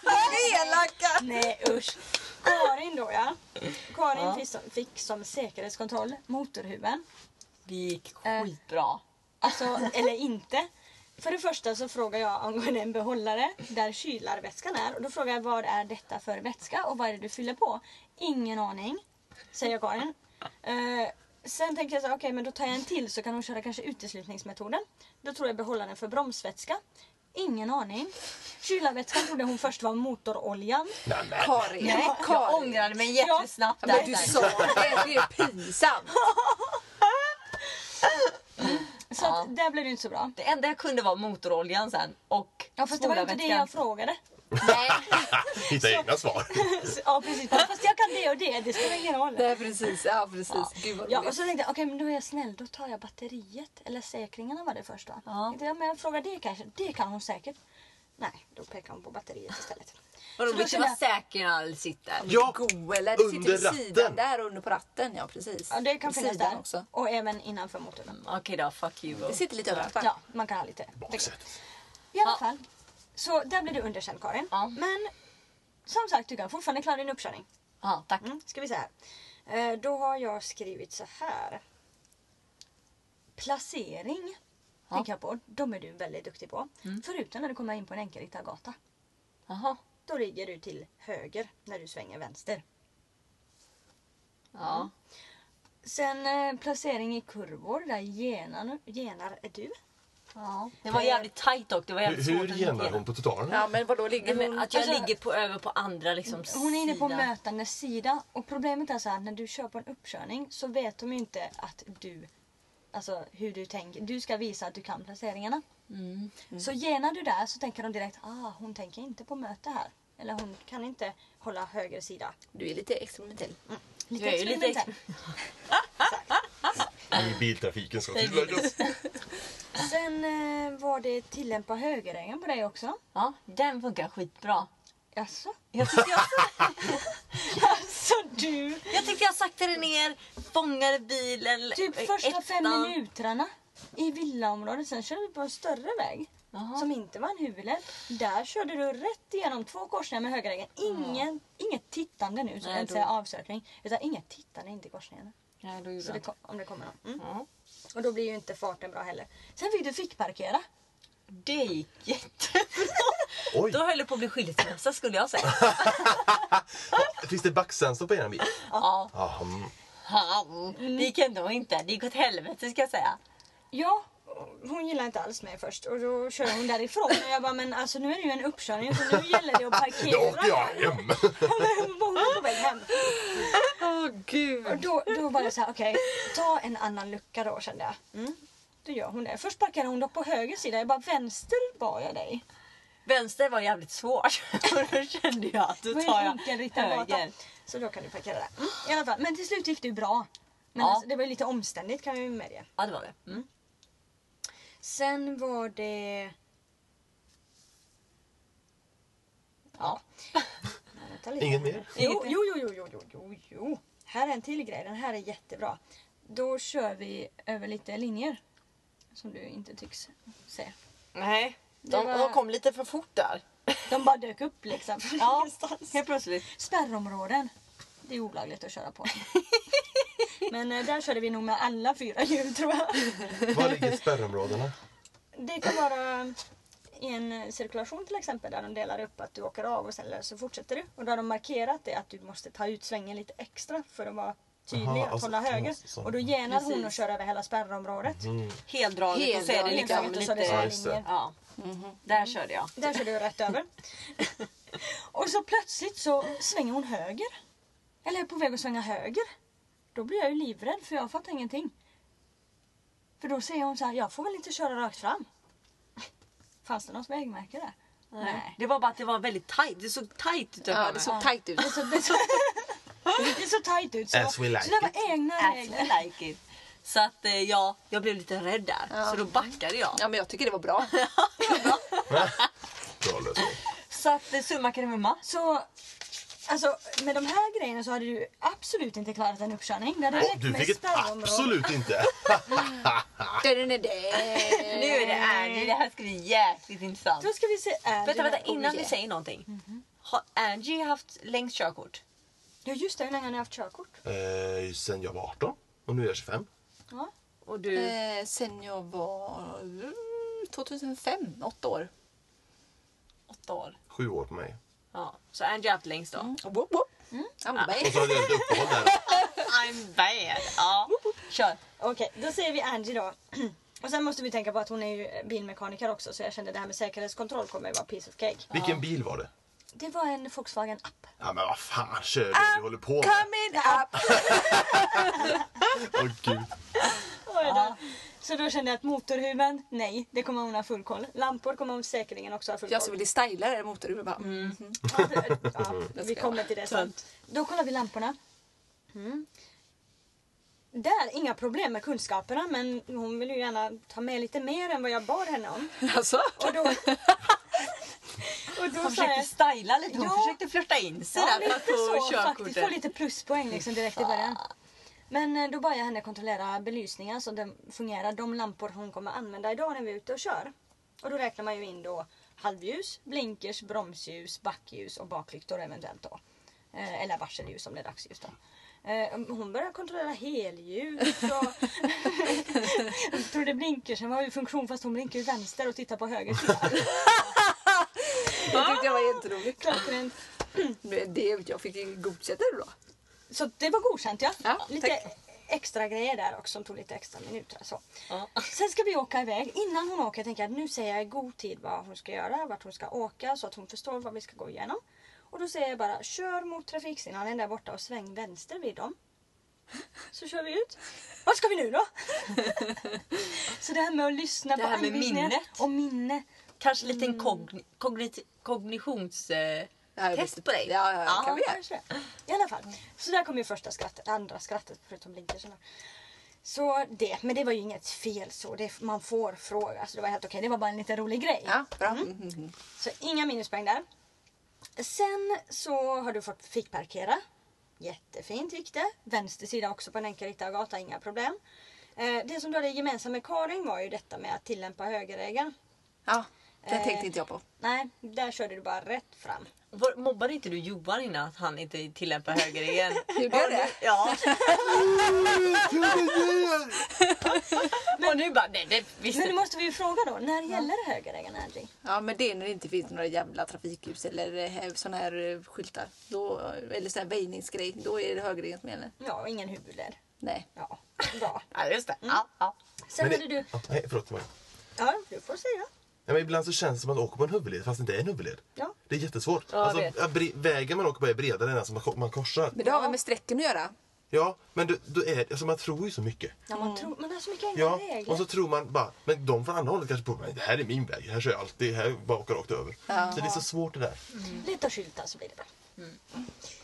Elaka!
Nej usch. Karin då ja. Karin fick, som, fick som säkerhetskontroll motorhuven.
Det gick skitbra.
Alltså, eller inte. För det första så frågar jag angående en behållare där kylarvätskan är. Och då frågar jag vad är detta för vätska och vad är det du fyller på? Ingen aning, säger Karin. Eh, sen tänker jag så här, okej men då tar jag en till så kan hon köra kanske uteslutningsmetoden. Då tror jag behållaren för bromsvätska. Ingen aning. Kylarvätskan trodde hon först var motoroljan.
Nej, men.
Karin,
Nej, jag
Karin.
ångrade mig jättesnabbt
Ja,
där.
Men du sa det, det är pinsamt.
Så att, där blev det inte så bra.
Det enda jag kunde var motoroljan sen och
Ja fast det var ju inte det jag frågade.
Nej,
Hitta egna svar.
Så- Ja precis, fast jag kan det och det. Det spelar ingen roll.
Nej precis, ja precis. Gud vad
Ja,
roligt.
och så tänkte jag, okej men då är jag snäll, då tar jag batteriet. Eller säkringarna var det först va?
Ja.
Tänkte jag, men jag frågar det kanske, det kan hon säkert. Nej, då pekar hon på batteriet istället.
vadå
Så då
vill du vara
kände jag-
säker när alla sitter?
Ja,
Goeler, det sitter
under
vid sidan
ratten.
där under på ratten. Ja precis.
Ja, det kan
Vid
finnas
sidan
där.
också.
Och även innanför motorn.
Okej då, fuck you.
Det sitter lite överallt va?
Ja, man kan ha lite.
Baksätet.
I alla
Ja.
fall. Så där blir du underkänd Karin.
Ja.
Men som sagt, du kan fortfarande klara din uppkörning.
Ja, tack.
Mm, ska vi se här. Eh, Då har jag skrivit så här. Placering.
Ja.
Tänker jag på. De är du väldigt duktig på. Förutom när du kommer in på en enkelriktad gata.
Jaha.
Då ligger du till höger när du svänger vänster.
Ja.
Sen eh, placering i kurvor. Där genar, genar är du.
ja. Det var jävligt tajt dock. Det var jävligt
Hur, hur
svårt att
genar
hantera. Mm,
hon på totalen?
Ja men vadå
Nej,
ligger
men
hon...
att jag
Alltså-
ligger på, över på andra liksom
Hon är inne på
sidan.
mötande sida. Och problemet är så här. När du kör på en uppkörning så vet de ju inte att du... Alltså hur du tänker. Du ska visa att du kan placeringarna.
Mm.
Så genar du där så tänker de direkt ah hon tänker inte på möte här. Eller hon kan inte hålla höger sida.
Du är lite experimentell.
Lite
Jag är ju lite
experimentell.
I biltrafiken ska tilläggas.
Sen eh, var det tillämpa högerregeln på dig också.
Ja, den funkar skitbra.
Jaså?
Jag tyckte jag,
Alltså du!
jag, tyckte jag saktade ner, fångade bilen.
Typ
eh,
första fem
ettan.
minuterna i villaområdet. Sen körde vi på en större väg.
Jaha.
Som inte var en huvudled. Där körde du rätt igenom två korsningar med högerregeln. Ingen, Inget tittande nu, så
Nej,
jag inte
då-
säga avsökning. Utan inget tittande in till korsningarna.
Nej, då gjorde
Så det,
jag
kom- om det kommer någon. Mm.
inte. Ja.
Och då blir ju inte farten bra heller. Sen fick du fick parkera.
Det gick jättebra.
Oj,
Då höll det på att bli skilsmässa skulle jag säga.
finns det backsensor på er bil?
Ja.
Ah, mm.
Han. Det gick ändå inte. Det gick åt helvete ska jag säga.
Ja, hon gillade inte alls mig först och då körde hon därifrån. Och jag bara, men alltså nu är det ju en uppkörning så nu gäller det att
Då
parkera.
åker jag hem!
Hon var på väg hem.
Åh
Och
gud.
då, då var jag så här, okej, ta en annan lucka då kände jag. Mm. Då gör hon det. Först parkerade hon dock på höger sida. Jag bara, vänster var jag dig.
Vänster var jävligt svårt. Och då kände jag att då
Det
tar
var ju
jag
enkelriktad gata.
höger.
Så då kan du parkera där. Mm. I alla fall. Men till slut gick det ju bra. Men
Ja.
alltså, det var ju lite omständigt kan jag ju medge.
Ja det var det. Mm.
Sen var det... Ja. Nej, vänta lite.
Inget mer?
Jo, jo, jo, jo, jo, jo, jo, jo. Här är en till grej. Den här är jättebra. Då kör vi över lite linjer. Som du inte tycks se.
Nej.
Det var-
lite för fort där.
De bara dök upp liksom.
Ja, helt plötsligt.
Spärrområden. Det är olagligt att köra på. Men eh, där körde vi nog med alla fyra hjul tror jag.
Var ligger spärrområdena?
Det kan vara i en cirkulation till exempel där de delar upp att du åker av och sen så fortsätter du. Och då har de markerat det att du måste ta ut svängen lite extra för att vara tydlig
Jaha,
att
alltså,
hålla höger.
så- så-
Och då genar hon
Precis.
och kör över hela spärrområdet.
Heldraget och så är det
Heldraget,
liksom
och så är det så
lite...
här
Ja, just det.
linjer.
Ja.
Mhm.
Där körde jag.
Där kör du rätt över. och så plötsligt så svänger hon höger. Eller är på väg att svänga höger. Då blir jag ju livrädd för jag fattar ingenting. För då säger hon så här, jag får väl inte köra rakt fram. Fanns det något vägmärke där? Nej.
Det var bara att det var väldigt tajt. Det såg tajt ut
Ja, det såg tajt ut.
Det såg, det såg, det såg tajt ut. Så,
As we like
så det var egna regler.
I like it. Så att eh, ja, jag blev lite rädd där. Så då backade jag.
Ja men jag tycker det var bra.
Bra lösning.
Så att eh, summa kardemumma.
Så Alltså med de här grejerna så hade du absolut inte klarat en uppkörning. Det hade
Åh,
räckt
du
med
fick ett
spärrområde.
absolut inte.
Nu är det Angie, det här ska bli jäkligt intressant.
Då ska vi se. Är Mhm.
Vänta,
det-
vänta innan vi säger någonting. Har Angie haft längst körkort?
Ja just det, hur länge har ni haft körkort?
Eh, sen jag var 18 och nu är jag 25.
Ja.
Och du?
Eh, sen jag var mm, 2005, åtta år.
Åtta år.
Sju år på mig.
Ja. Så Angie har haft längst då.
Mm.
Whoop, whoop. I'm back.
Och så hade jag lite uppehåll där.
I'm bad. Ja. Kör.
Okej, då säger vi Angie då. Och sen måste vi tänka på att hon är ju bilmekaniker också så jag kände det här med säkerhetskontroll kommer ju vara piece of cake.
Vilken bil var det?
Det var en Volkswagen app.
Ja men vad fan kör du?
Ah,
Du håller på med.
Coming up!
Åh gud.
Så då kände jag att motorhuven, nej, det kommer hon ha full koll. Lampor kommer hon säkerligen också ha full koll.
Jag som ville styla det där motorhuvudet bara. Mm.
Ja, det- ja, vi
jag
kommer till det sen. Då kollar vi lamporna. Mm. Där, inga problem med kunskaperna men hon vill ju gärna ta med lite mer än vad jag bad henne om.
Alltså?
Och då... och då
Hon
sa
försökte
jag...
styla lite. Hon
Ja.
försökte flirta in sig där
Ja,
för
lite
att få
så faktiskt. Få
körkortet.
lite pluspoäng liksom direkt i början. Men eh, då bad jag henne kontrollera belysningen så den fungerar. De lampor hon kommer använda idag när vi är ute och kör. Och då räknar man ju in då halvljus, blinkers, bromsljus, backljus och baklyktor eventuellt då. Eh, Eller varselljus om det är dagsljus då. Eh, Hon började kontrollera helljus och... jag trodde blinkersen var i funktion fast hon blinkar ju vänster och tittar på höger sida.
Det tyckte jag var jätteroligt.
Klockrent.
Det- Det, jag fick ju godkänt det då.
Så det var godkänt ja.
Ja,
lite
tack.
extra grejer där också som tog lite extra minuter. Så.
Ja.
Sen ska vi åka iväg. Innan hon åker tänker jag att nu säger jag i god tid vad hon ska göra, vart hon ska åka så att hon förstår vad vi ska gå igenom. Och då säger jag bara kör mot trafiksignalen där borta och sväng vänster vid dem. Så kör vi ut. Vart ska vi nu då? så det här med att lyssna
Det
på
här med
anvisningar
minnet.
och minne.
Kanske lite en kogn- kognit- kognitions... Eh,
Det här är
Test
bäst.
på dig.
Ja, ja, ja. Kan vi göra?
kanske det. I alla fall. Så där kom ju första skrattet, andra skrattet förutom blinkersen. Så det, men det var ju inget fel så. Det, man får fråga. Så det var helt okej. Det var bara en lite rolig grej.
Ja, bra. Mm. mm.
Så inga minuspoäng där. Sen så har du fått fickparkera. Jättefint gick det. Vänster sida också på en enkelriktad gata, inga problem. Eh, Det som du hade gemensamt med Karin var ju detta med att tillämpa högerregeln.
Ja, det
Eh.
tänkte inte jag på.
Nej, där körde du bara rätt fram.
var, mobbade inte du Johan innan att han inte tillämpar höger igen?
Gjorde jag
Och nu-
det?
Ja. Och nu bara, nej det visste
Men nu måste vi ju fråga då, när gäller högerregeln Angie?
Ja, men det är när det inte finns några jävla trafikljus eller sådana här eh, skyltar. Då, eller sån här väjningsgrej. Då är det högerregeln som gäller.
Ja, och ingen huvudled.
Nej.
Ja, bra.
Ja just det. Ja, ja.
Sen
Men
hade du...
Ja, nej, förlåt. Maja.
Ja, du får säga.
Ja, men ibland så känns det som att man åker på en huvudled fast det inte är en huvudled.
Ja.
Det är jättesvårt. Alltså,
jag vet.
ja, bre- vägen man åker på är bredare än den som man ko- man korsar.
Men det har väl med strecken att göra?
Ja, men du, du är, alltså, man tror ju så mycket.
Ja, man, tror, man har så mycket enkla
Ja,
regler.
och så tror man bara, men de från andra hållet kanske på mig. Det här är min väg, här kör jag alltid, här bara åker jag rakt över. Så det är så svårt det där.
Lite skyltar så blir det bra. Mm.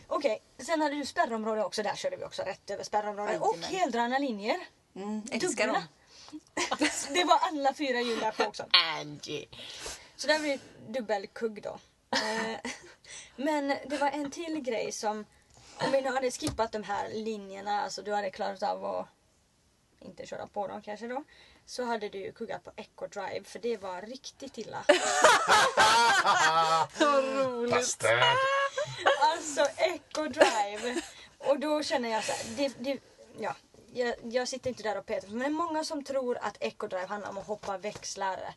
Okej, sen hade du spärrområde också. Där körde vi också rätt över spärrområde. Och
Jajamän.
heldragna linjer.
Mm, älskar
Dubbla.
dem.
det var alla fyra hjul där på också.
Angie.
Så där blir det dubbelkugg då. Eh, Men det var en till grej som... Om vi nu hade skippat de här linjerna, alltså du hade klarat av att inte köra på dem kanske då. Så hade du ju kuggat på Echo Drive för det var riktigt illa.
Bastard!
Alltså Echo Drive. Och då känner jag så här, det, det, ja, jag, jag sitter inte där och petar. Men det är många som tror att Echo Drive handlar om att hoppa växlar.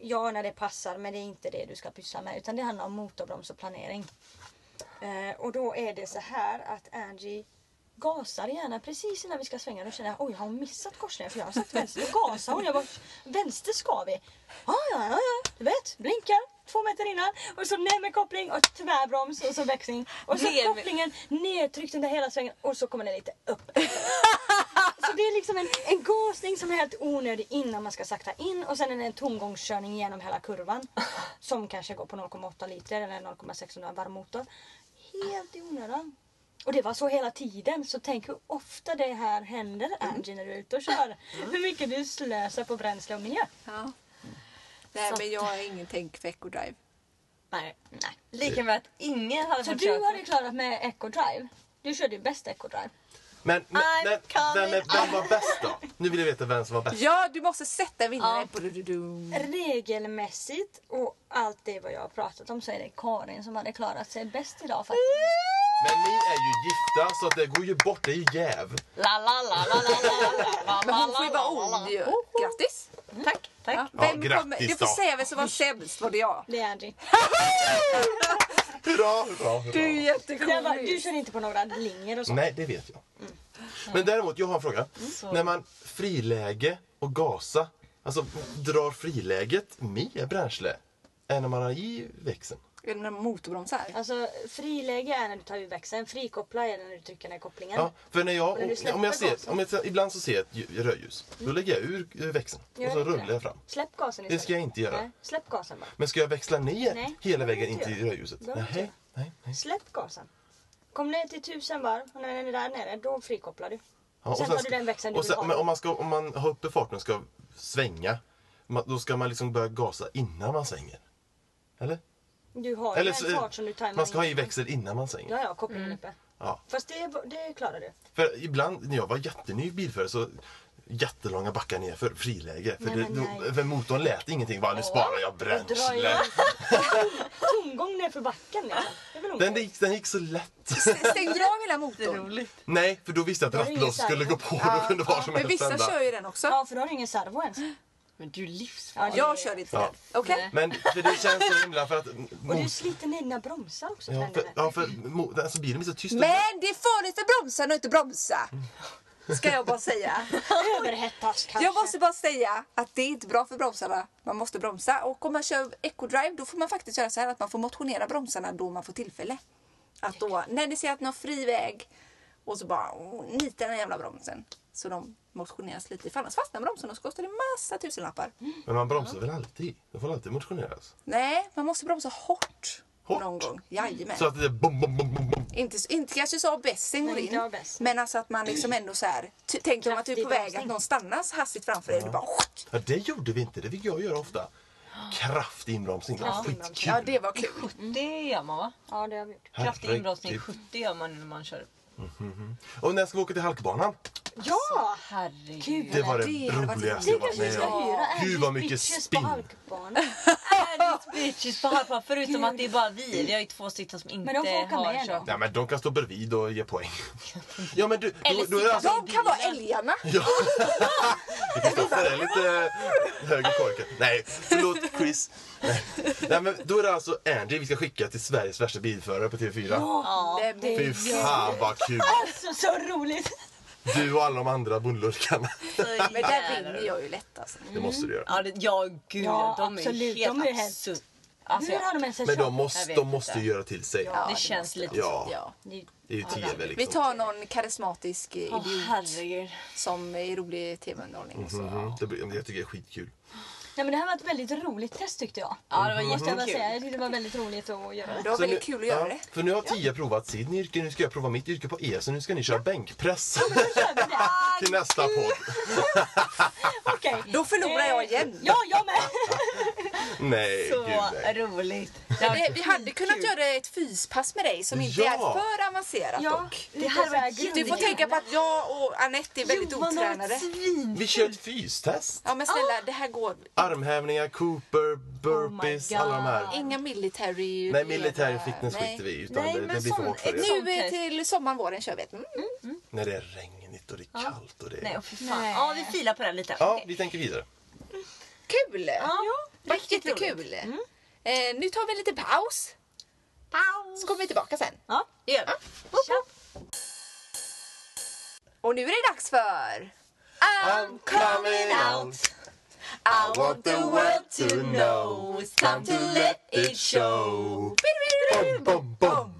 Ja, när det passar, men det är inte det du ska pyssla med. Utan det handlar om motorbroms och planering. Eh, och då är det så här att Angie gasar gärna precis innan vi ska svänga. Då känner jag, oj har hon missat korsningen? För jag har sagt vänster. Då gasar hon. Jag bara, vänster ska vi. Ja, ja, ja, ja. Du vet, blinkar. Två meter innan och så ner med koppling och tvärbroms och så växling. Och så
Ner med-
kopplingen nedtryckt under hela svängen och så kommer den lite upp. så det är liksom en, en gasning som är helt onödig innan man ska sakta in och sen är det en tomgångskörning genom hela kurvan. Som kanske går på 0,8 liter eller 0,6 om du har en varm motor. Helt i onödan. Och det var så hela tiden. Så tänk hur ofta det här händer Angie när du är ute och kör. Hur mycket du slösar på bränsle och miljö.
Ja. Nej, men jag har ingen tänk för Echo Drive.
Nej.
Nej.
Lika med att ingen hade
Så
fått
du
körkort.
hade klarat med Echo Drive? Du körde ju bäst Echo Drive.
Men, men
I'm
vem, vem,
coming
är- vem var bäst då? Nu vill jag veta vem som var bäst.
Ja, du måste sätta en
Ja.
vinnare. Badududum.
Regelmässigt och allt det vad jag har pratat om så är det Karin som hade klarat sig bäst idag faktiskt.
Men ni är ju gifta så att det går ju bort. Det är ju jäv.
La, la, la, la, la, la, la,
Men hon får ju
la,
vara
la, la, la.
ond ju. Grattis!
Tack, tack.
Ja.
Ja,
Vem
grattis
kommer? Du får
då.
säga vem som var sämst. Var det jag?
Det är Angie.
Hurra, hurra, hurra.
Du är
Jag bara, du
jättecool.
kör inte på några linjer och så. Mm.
Nej, det vet jag. Men däremot, jag har en fråga. När man friläge och gasa, alltså drar friläget mer bränsle än när man har i växeln?
Är det några motorbromsar?
Alltså friläge är när du tar ur växeln, frikoppla är när du trycker ner kopplingen.
Ja, för när jag,
Men när du släpper
om jag ser,
gasen. Mm.
om jag, ibland så ser jag ett lju- rödljus, då lägger jag ur eh, växeln och
Gör
så
inte
rullar
det.
jag fram.
Släpp gasen
Det ska jag inte göra.
Nej, släpp gasen bara.
Men ska jag växla ner
Nej,
hela
det
vägen in
behöver du
till
inte
rödljuset?
göra. Det behöver du
Nej,
inte
nej, nej.
Släpp gasen. Kom ner till tusen varv och när den är där nere då frikopplar du.
Ja,
sen tar du den växeln du
och sen,
vill ha.
men om man, ska, om man har uppe farten och ska svänga, ma- då ska man liksom börja gasa innan man svänger? Eller?
Du har ju
Eller
en fart som du tajmar
man ska ha
in.
i växel innan man svänger.
Ja, ja, kopplingen uppe.
Ja.
Fast det, det klarar du.
För ibland när jag var jätteny bilförare så jättelånga backar ner för friläge. För,
Nej,
det,
men
då-
nej.
för motorn lät ingenting. Bara, nu sparar jag
Du drar ju
bränsle.
tomgång ner för backen liksom. Det är väl
Den
onödigt.
gick, den gick så lätt.
Stängde du av hela motorn?
Roligt.
Nej, för då visste jag
Då är
att
det
rattlås
ingen
skulle gå
servo.
på. Då kunde vad som
Men
helst
vissa
hända.
kör ju den också.
Ja, för då har du ingen servo ens.
Men du är
Ja,
livsfarlig.
det-
Jag kör inte
Ja.
den. Okej?
Men för det känns så himla för att...
Och du
mot-
sliter ner dina bromsar också.
ja, för,
tränare.
ja, för mo- alltså, bilen blir så tyst.
Men det är farligt för bromsarna att inte bromsa. Ska jag bara säga.
Överhettas kanske.
Jag måste bara säga att det är inte bra för bromsarna. Man måste bromsa. Och om man kör eco-drive då får man faktiskt göra så här att man får motionera bromsarna då man får tillfälle. Att då, när ni ser att ni har fri väg och så bara åh, nita den här jävla bromsen. Så de motioneras lite. För annars fastnar bromsen och så kostar det massa tusenlappar.
Men man bromsar väl alltid? Då får man alltid motioneras.
Nej, man måste bromsa hårt.
Hårt?
Någon gång. Jajamän.
Så att det är bom, bom, bom, bom, bom.
Inte, inte kanske så bästen går
Nej, inte av
in.
bästen.
Men alltså att man liksom ändå så här. ty- Tänk dig om att du är på
Kraftig
väg att
bromsning.
någon stannas hastigt framför dig. Du bara
Ja, det gjorde vi inte. Det fick jag göra ofta. Kraftig inbromsning. Det var
Kraftig
skitkul.
inbromsning.
Ja, det var kul.
Det gör man va?
Ja, det har vi gjort.
Kraftig inbromsning
Herregud.
70 gör man när man kör.
Och när ska vi åka till halkbanan?
Ja!
Herregud.
Kul!
Det var det,
Det hade varit
roligaste jag
Tänk
varit
att vi
med
ska
om.
hyra
Gud, vad mycket
bitches
spinn.
på Äh, halkbanan.
Härligt bitches på halvplan. Förutom att det är bara vi. Vi har ju två stycken som inte
Men de får åka
har
med då.
körkort.
Nej men de kan stå bredvid och ge poäng. Ja men du, då,
Eller
då är det
sitta
alltså...
De kan vara älgarna.
Ja. Kristoffer är lite eh, högre korkad. Nej, förlåt Chris. Nej. Nej men då är det alltså Angie vi ska skicka till Sveriges värsta bilförare på TV4.
Nej, men-
Fy fan vad kul!
Alltså så roligt!
Du och alla de andra bondlurkarna.
Men där vinner jag ju lätt alltså.
Det måste du göra.
Ja, det, ja gud
Ja,
de är
absolut.
ju helt
De är ju helt-
absurda. Alltså,
Hur har
jag,
de ens en
Men de
körkort?
måste,
vet
de måste
inte.
göra till sig.
det,
Ja, det
känns
måste
lite...
Ja.
Ja.
Det-
Det är ju TV
Vi
liksom.
tar någon karismatisk eh,
Åh,
idiot
herregud.
som är rolig i tv-underhållning. och så.
Mhm, Det blir, jag tycker det är skitkul.
Nej, men det här var ett väldigt roligt test tyckte jag. Mm-hmm.
Ja, det var
Måste jag bara
jättekul.
säga. Jag tyckte det var väldigt roligt att göra.
Det var
Så
väldigt
nu-
kul att göra
ja,
det.
För nu har Tia provat sitt yrke, nu ska jag prova mitt yrke på er så nu ska ni köra bänkpress till nästa podd.
Okej.
Då förlorar jag igen.
Ja, jag med!
Nej,
Så
gud nej.
roligt.
Det, vi hade kunnat göra ett fyspass med dig som inte
Ja.
är för avancerat
Ja,
dock.
det här var
Du får tänka på att jag och Anette är väldigt otränade.
svin.
Vi kör ett fystest.
Ja men snälla, det här går.
Armhävningar, Cooper, burpees,
Oh my
alla de här.
God.
Inga military...
Nej, militär fitness
Nej.
skiter vi i, utan
Nej,
det,
men
det blir för
sån-
hårt för
ett
er.
sånt
Nu eh,
test.
till sommaren, våren kör vi ett. Mm.
När det är regnigt och det är kallt och det
Nej,
är...
åh, fy fan. Ja, vi filar på den lite.
Ja,
Okej.
vi tänker vidare.
Kul!
Ja,
Riktigt
riktigt roligt. Mm.
jättekul. Eh, nu tar vi en liten paus. Paus. Så kommer vi tillbaka sen.
Ja, det gör vi.
Och nu är det dags för...
I'm coming out, I want the world to know It's time to let it show Bom, bom, bom!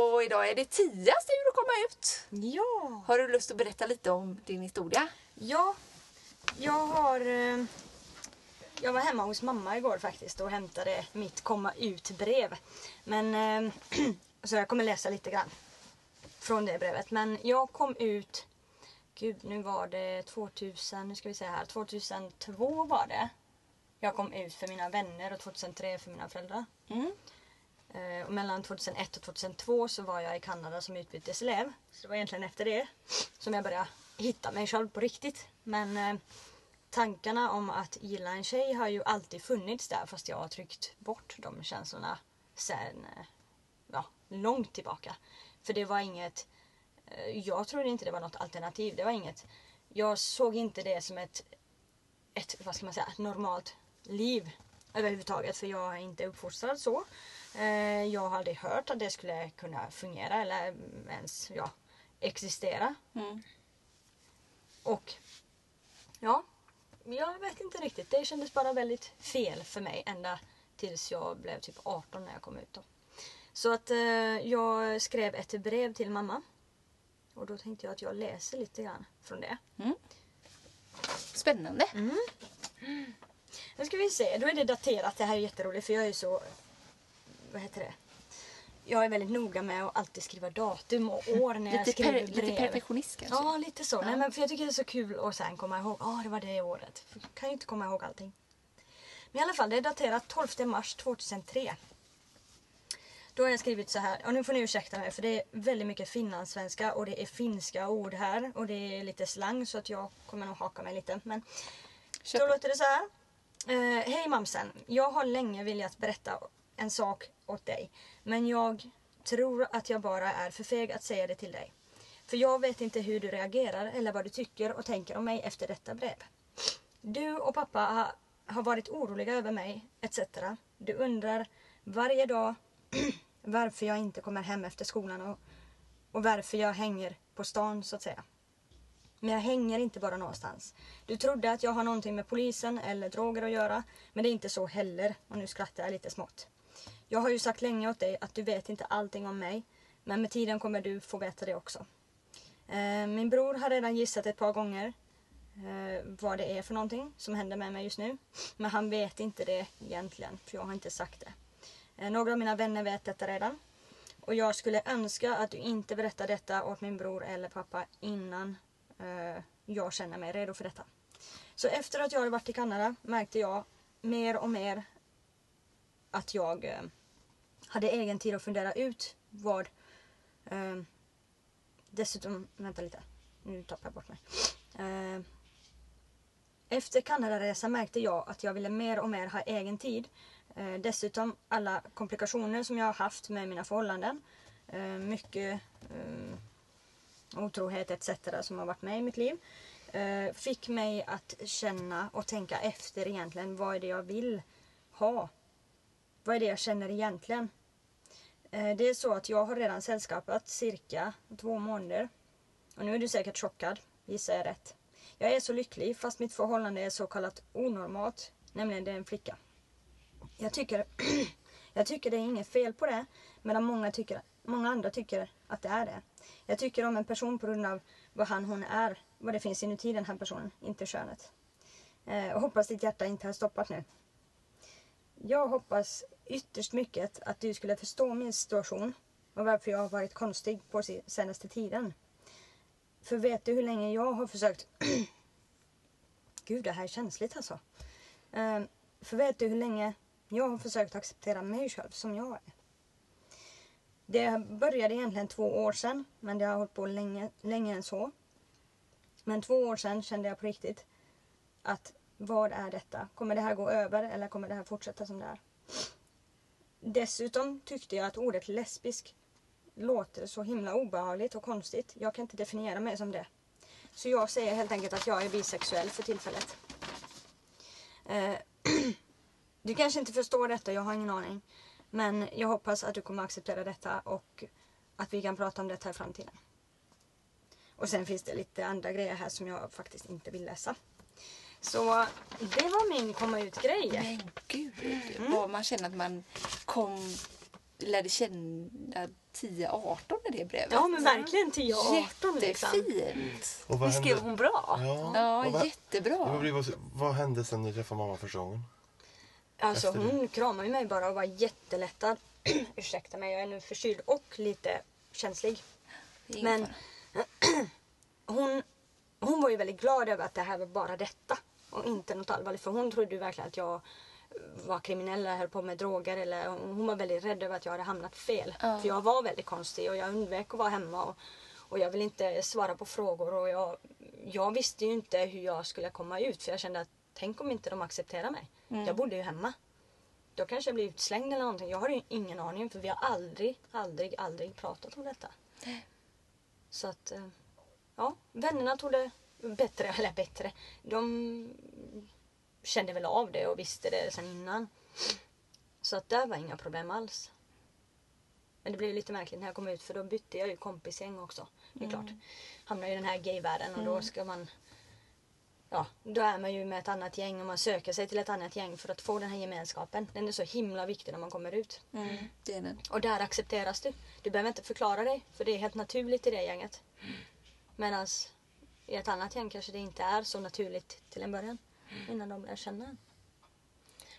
Och idag är det Tias tur att komma ut.
Ja.
Har du lust att berätta lite om din historia?
Ja, jag har... eh, Jag var hemma hos mamma igår faktiskt och hämtade mitt komma ut-brev. Men, eh, så jag kommer läsa lite grann från det brevet. Men jag kom ut... Gud, nu var det 2000... Nu ska vi se här. 2002 var det. Jag kom ut för mina vänner och 2003 för mina föräldrar.
Mm.
Eh, och mellan 2001 och 2002 så var jag i Kanada som utbyteselev. Så det var egentligen efter det som jag började hitta mig själv på riktigt. Men eh, tankarna om att gilla en tjej har ju alltid funnits där fast jag har tryckt bort de känslorna sen eh, ja, långt tillbaka. För det var inget, eh, jag trodde inte det var något alternativ. Det var inget, jag såg inte det som ett, ett vad ska man säga, normalt liv överhuvudtaget. För jag är inte uppfostrad så. Eh, Jag har aldrig hört att det skulle kunna fungera eller mm, ens ja, existera.
Mm.
Och ja, jag vet inte riktigt. Det kändes bara väldigt fel för mig ända tills jag blev typ 18 när jag kom ut. Då. Så att eh, jag skrev ett brev till mamma. Och då tänkte jag att jag läser lite grann från det.
Spännande.
Nu ska vi se, då är det daterat. Det här är jätteroligt för jag är ju så... Vad heter det? Jag är väldigt noga med att alltid skriva datum och år när jag
Lite, per,
skriver brev.
lite perfektionist kanske.
Ja, lite så. Nej, men för jag tycker det är så kul att sen komma ihåg. Ja, det var det året. För jag kan ju inte komma ihåg allting. Men i alla fall, det är daterat 12 mars 2003. Då har jag skrivit så här, och nu får ni ursäkta mig för det är väldigt mycket finlandssvenska och det är finska ord här och det är lite slang så att jag kommer nog haka mig lite. Men
Kör
då
på.
låter det så här. Eh, Hej mamsen, jag har länge velat berätta en sak åt dig. Men jag tror att jag bara är för feg att säga det till dig. För jag vet inte hur du reagerar eller vad du tycker och tänker om mig efter detta brev. Du och pappa ha, har varit oroliga över mig, etc. Du undrar varje dag varför jag inte kommer hem efter skolan och, och varför jag hänger på stan så att säga. Men jag hänger inte bara någonstans. Du trodde att jag har någonting med polisen eller droger att göra. Men det är inte så heller. Och nu skrattar jag lite smått. Jag har ju sagt länge åt dig att du vet inte allting om mig. Men med tiden kommer du få veta det också. Eh, min bror har redan gissat ett par gånger eh, vad det är för någonting som händer med mig just nu. Men han vet inte det egentligen. För jag har inte sagt det. Eh, några av mina vänner vet detta redan. Och jag skulle önska att du inte berättar detta åt min bror eller pappa innan eh, jag känner mig redo för detta. Så efter att jag hade varit i Kanada märkte jag mer och mer att jag eh, hade egen tid att fundera ut vad... Eh, dessutom, vänta lite. Nu tappar jag bort mig. Eh, efter Kanadaresan märkte jag att jag ville mer och mer ha egen tid. Eh, dessutom alla komplikationer som jag har haft med mina förhållanden. Eh, mycket eh, otrohet etc. som har varit med i mitt liv. Eh, fick mig att känna och tänka efter egentligen. Vad är det jag vill ha? Vad är det jag känner egentligen? Eh, det är så att jag har redan sällskapat cirka två månader. Och nu är du säkert chockad, gissar jag rätt. Jag är så lycklig fast mitt förhållande är så kallat onormalt, nämligen det är en flicka. Jag tycker, jag tycker det är inget fel på det, medan många, tycker, många andra tycker att det är det. Jag tycker om en person på grund av vad han hon är, vad det finns inuti den här personen, inte könet. Eh, och hoppas ditt hjärta inte har stoppat nu. Jag hoppas ytterst mycket att du skulle förstå min situation och varför jag har varit konstig på se- senaste tiden. För vet du hur länge jag har försökt... Gud, det här är känsligt alltså. Eh, för vet du hur länge jag har försökt acceptera mig själv som jag är? Det började egentligen två år sedan, men det har hållit på länge, länge än så. Men två år sedan kände jag på riktigt att vad är detta? Kommer det här gå över eller kommer det här fortsätta som det är? Dessutom tyckte jag att ordet lesbisk låter så himla obehagligt och konstigt. Jag kan inte definiera mig som det. Så jag säger helt enkelt att jag är bisexuell för tillfället. Eh, Du kanske inte förstår detta, jag har ingen aning. Men jag hoppas att du kommer acceptera detta och att vi kan prata om detta i framtiden. Och sen finns det lite andra grejer här som jag faktiskt inte vill läsa. Så det var min komma ut-grej.
Men gud,
Mm.
vad man känner att man kom, lärde känna 10-18 i det brevet.
Ja men verkligen 10 och 18 liksom.
Jättefint.
Och
Men skrev hon bra?
Ja,
Mm.
Ja,
och vad, Ja, men
jättebra.
det var- vad hände sen ni träffade mamma första gången?
Alltså
Efter det.
hon kramade ju mig bara och var jättelättad. Ursäkta mig, jag är nu förkyld och lite känslig.
Ingen
Men
fara.
hon, hon var ju väldigt glad över att det här var bara detta. och inte något allvarligt. För hon trodde ju verkligen att jag var kriminell eller höll på med droger. Eller, hon var väldigt rädd över att jag hade hamnat fel.
Ja.
För jag var väldigt konstig och jag undvek att vara hemma. Och, och jag ville inte svara på frågor. Och jag, jag visste ju inte hur jag skulle komma ut. För jag kände att tänk om inte de accepterar mig. Jag bodde ju hemma. Då kanske jag blir utslängd eller någonting. Jag har ju ingen aning. För vi har aldrig, aldrig, aldrig pratat om detta. Så att, eh, ja, vännerna tog det bättre, eller bättre. De kände väl av det och visste det sen innan. Så att där var inga problem alls. Men det blev ju lite märkligt när jag kom ut för då bytte jag ju kompisgäng också. Det är klart. Hamnar ju i den här gayvärlden och då ska man... Ja, då är man ju med ett annat gäng och man söker sig till ett annat gäng för att få den här gemenskapen. Den är så himla viktig när man kommer ut.
Mm. Det är den.
Och där accepteras du. Du behöver inte förklara dig, för det är helt naturligt i det gänget. Medan i ett annat gäng kanske det inte är så naturligt till en början. Innan de lär känna en.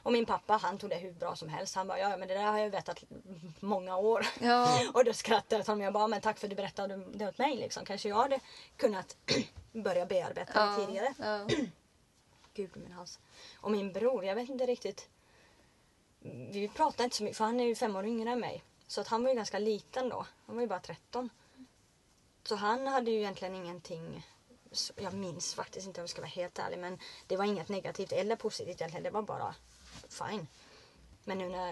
Och min pappa han tog det hur bra som helst. Han bara, ja ja, men det där har jag vetat många år.
Ja.
Och då skrattade jag åt honom. Jag bara, men tack för att du berättade det åt mig. Liksom. Kanske jag hade kunnat börja bearbeta det tidigare.
Ja.
Gud min hals. Och min bror, jag vet inte riktigt. Vi pratade inte så mycket, för han är ju fem år yngre än mig. Så att han var ju ganska liten då. Han var ju bara 13. Så han hade ju egentligen ingenting. så- Jag minns faktiskt inte om jag ska vara helt ärlig. Men det var inget negativt eller positivt egentligen. Det var bara fine. Men nu när,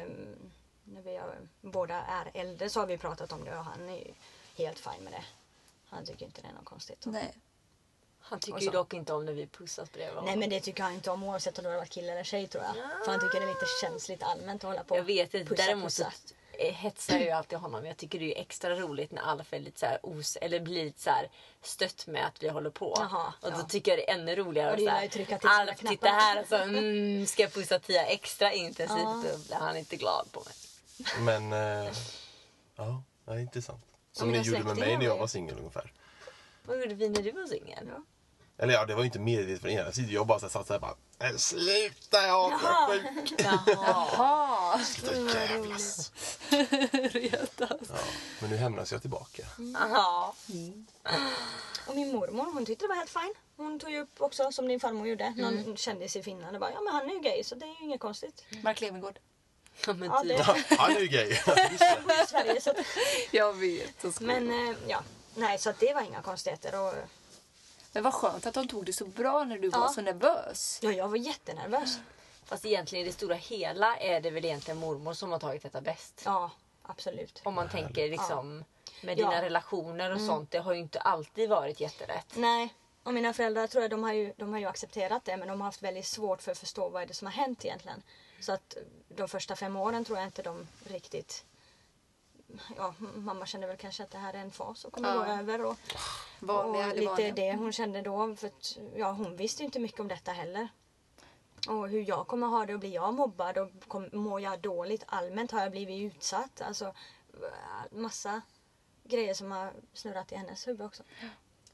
när vi har- båda är äldre så har vi pratat om det och han är ju helt fin med det. Han tycker inte det är något konstigt.
Nej.
Han tycker
Och
ju
så-
dock inte om när vi pussas bredvid honom.
Nej men det tycker han inte om oavsett om det har varit kille eller tjej tror jag. För han tycker det är lite känsligt allmänt att hålla på
Jag vet inte.
och pussa,
Däremot så
pussa.
eh, hetsar jag ju alltid honom. Jag tycker det är ju extra roligt när Alf är lite så här os eller blir lite så här stött med att vi håller på.
Jaha,
och då
ja.
tycker jag det är ännu roligare.
Och du
så
gillar
här,
ju att trycka till sina
Alf, titta
knappar."
här. Och så, mm, ska jag pussa Tia extra intensivt.
Ja.
Då blir han inte glad på mig.
Men eh, ja, det är intressant. Som
mina
ni gjorde med mig
släktingar
när
var
jag
ju-
var singel ungefär.
Vad gjorde vi när du var singel?
Ja.
Eller ja, det var ju inte medvetet från era sida. Jag bara så här satt såhär bara "Nej, Sluta, jag är sjuk!
Jaha.
Sluta jävlas!
alltså.
Ja, men nu hämnas jag tillbaka.
Ja.
Och min mormor hon tyckte det var helt fine. Hon tog ju upp också som din farmor gjorde.
Mm.
Någon kändis i Finland och bara ja men han är ju gay så det är ju inget konstigt.
Mark Levengård.
Ja, men
Ja,
typ.
det-
Han är ju gay!
I Sverige så att,
Jag vet. så ska
Men eh, ja. Nej så att det var inga konstigheter. Och,
Men vad skönt att de tog det så bra när du
Ja.
var så nervös.
ja jag var jättenervös.
Mm. Fast egentligen i det stora hela är det väl egentligen mormor som har tagit detta bäst.
Ja absolut.
Om man tänker liksom med
Ja. Mm.
dina relationer och sånt. Det har ju inte alltid varit jätterätt.
Nej. Och mina föräldrar tror jag, de har, ju, de har ju accepterat det men de har haft väldigt svårt för att förstå vad är det som har hänt egentligen. Så att de första fem åren tror jag inte de riktigt... Ja, m- mamma kände väl kanske att det här är en fas och kommer
Ja.
gå över. Och,
Vanliga
och
eller
lite
vanliga.
det hon kände då. För att, ja, hon visste ju inte mycket om detta heller. Och hur jag kommer ha det och blir jag mobbad och kom, mår jag dåligt allmänt? Har jag blivit utsatt? Alltså massa grejer som har snurrat i hennes huvud också.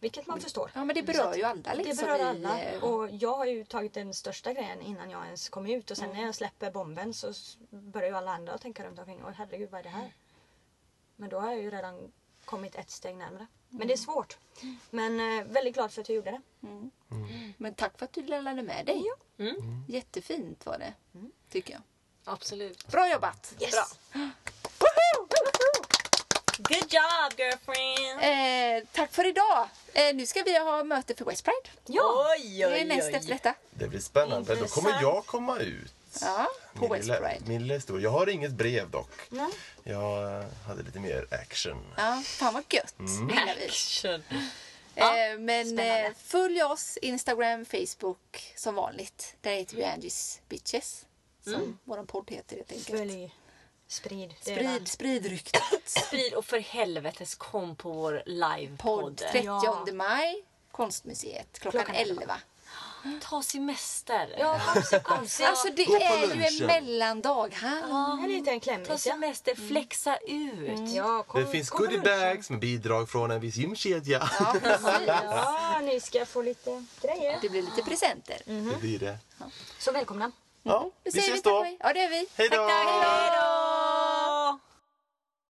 Vilket man förstår.
Ja men det berör ju alla liksom.
Det berör
i,
alla.
eh,
Och jag har ju tagit den största grejen innan jag ens kom ut. Och sen när jag släpper bomben så s- börjar ju alla andra att tänka runt omkring. Åh herregud, vad är det här? Men då har jag ju redan kommit ett steg närmare. Men det är svårt. Men eh, väldigt glad för att jag gjorde det.
Men tack för att du delade med dig.
Mm.
Mm.
Jättefint var det. Tycker jag.
Absolut.
Bra jobbat!
Yes!
Bra. Good job girlfriend!
Eh, tack för idag! Eh, nu ska vi ha möte för West Pride.
Ja!
Oj,
det är
oj,
näst
oj.
efter detta.
Det blir spännande. Då kommer
Intressant.
jag komma ut.
Ja, på
Min
West
lilla-
Pride.
Min lilla historia. Jag har inget brev dock.
Nej.
Jag eh, hade lite mer action.
Ja, fan vad gött.
Mm.
Det gillar vi.
Action.
Eh, men
spännande.
eh, följ oss Instagram, Facebook som vanligt. Där heter vi Angie's Bitches. Som vår podd heter helt enkelt.
Mm. Följ. Sprid. dela.
Sprid, sprid ryktet.
Sprid och för helvetes kom på vår
Podd
livepodd.
30
Ja.
maj, Konstmuseet klockan,
Klockan
11.
elva.
Ta semester.
Ja, kompisar, kompisar.
Alltså det
Gå på
är ju en
lunchen.
mellandag här.
En
Ta
liten klämmis ja. Mm.
semester, flexa ut.
ja kom,
Det finns
kom på
goodiebags med bidrag från en viss gymkedja.
lunchen. Ja, ni ska få lite grejer.
Det blir lite presenter.
Mm.
Det blir det.
Så välkomna.
Ja,
mm. Då
vi
säger vi
ses
tack och
då.
hej. Ja det är vi.
Hej då!
Tack, tack, hej då!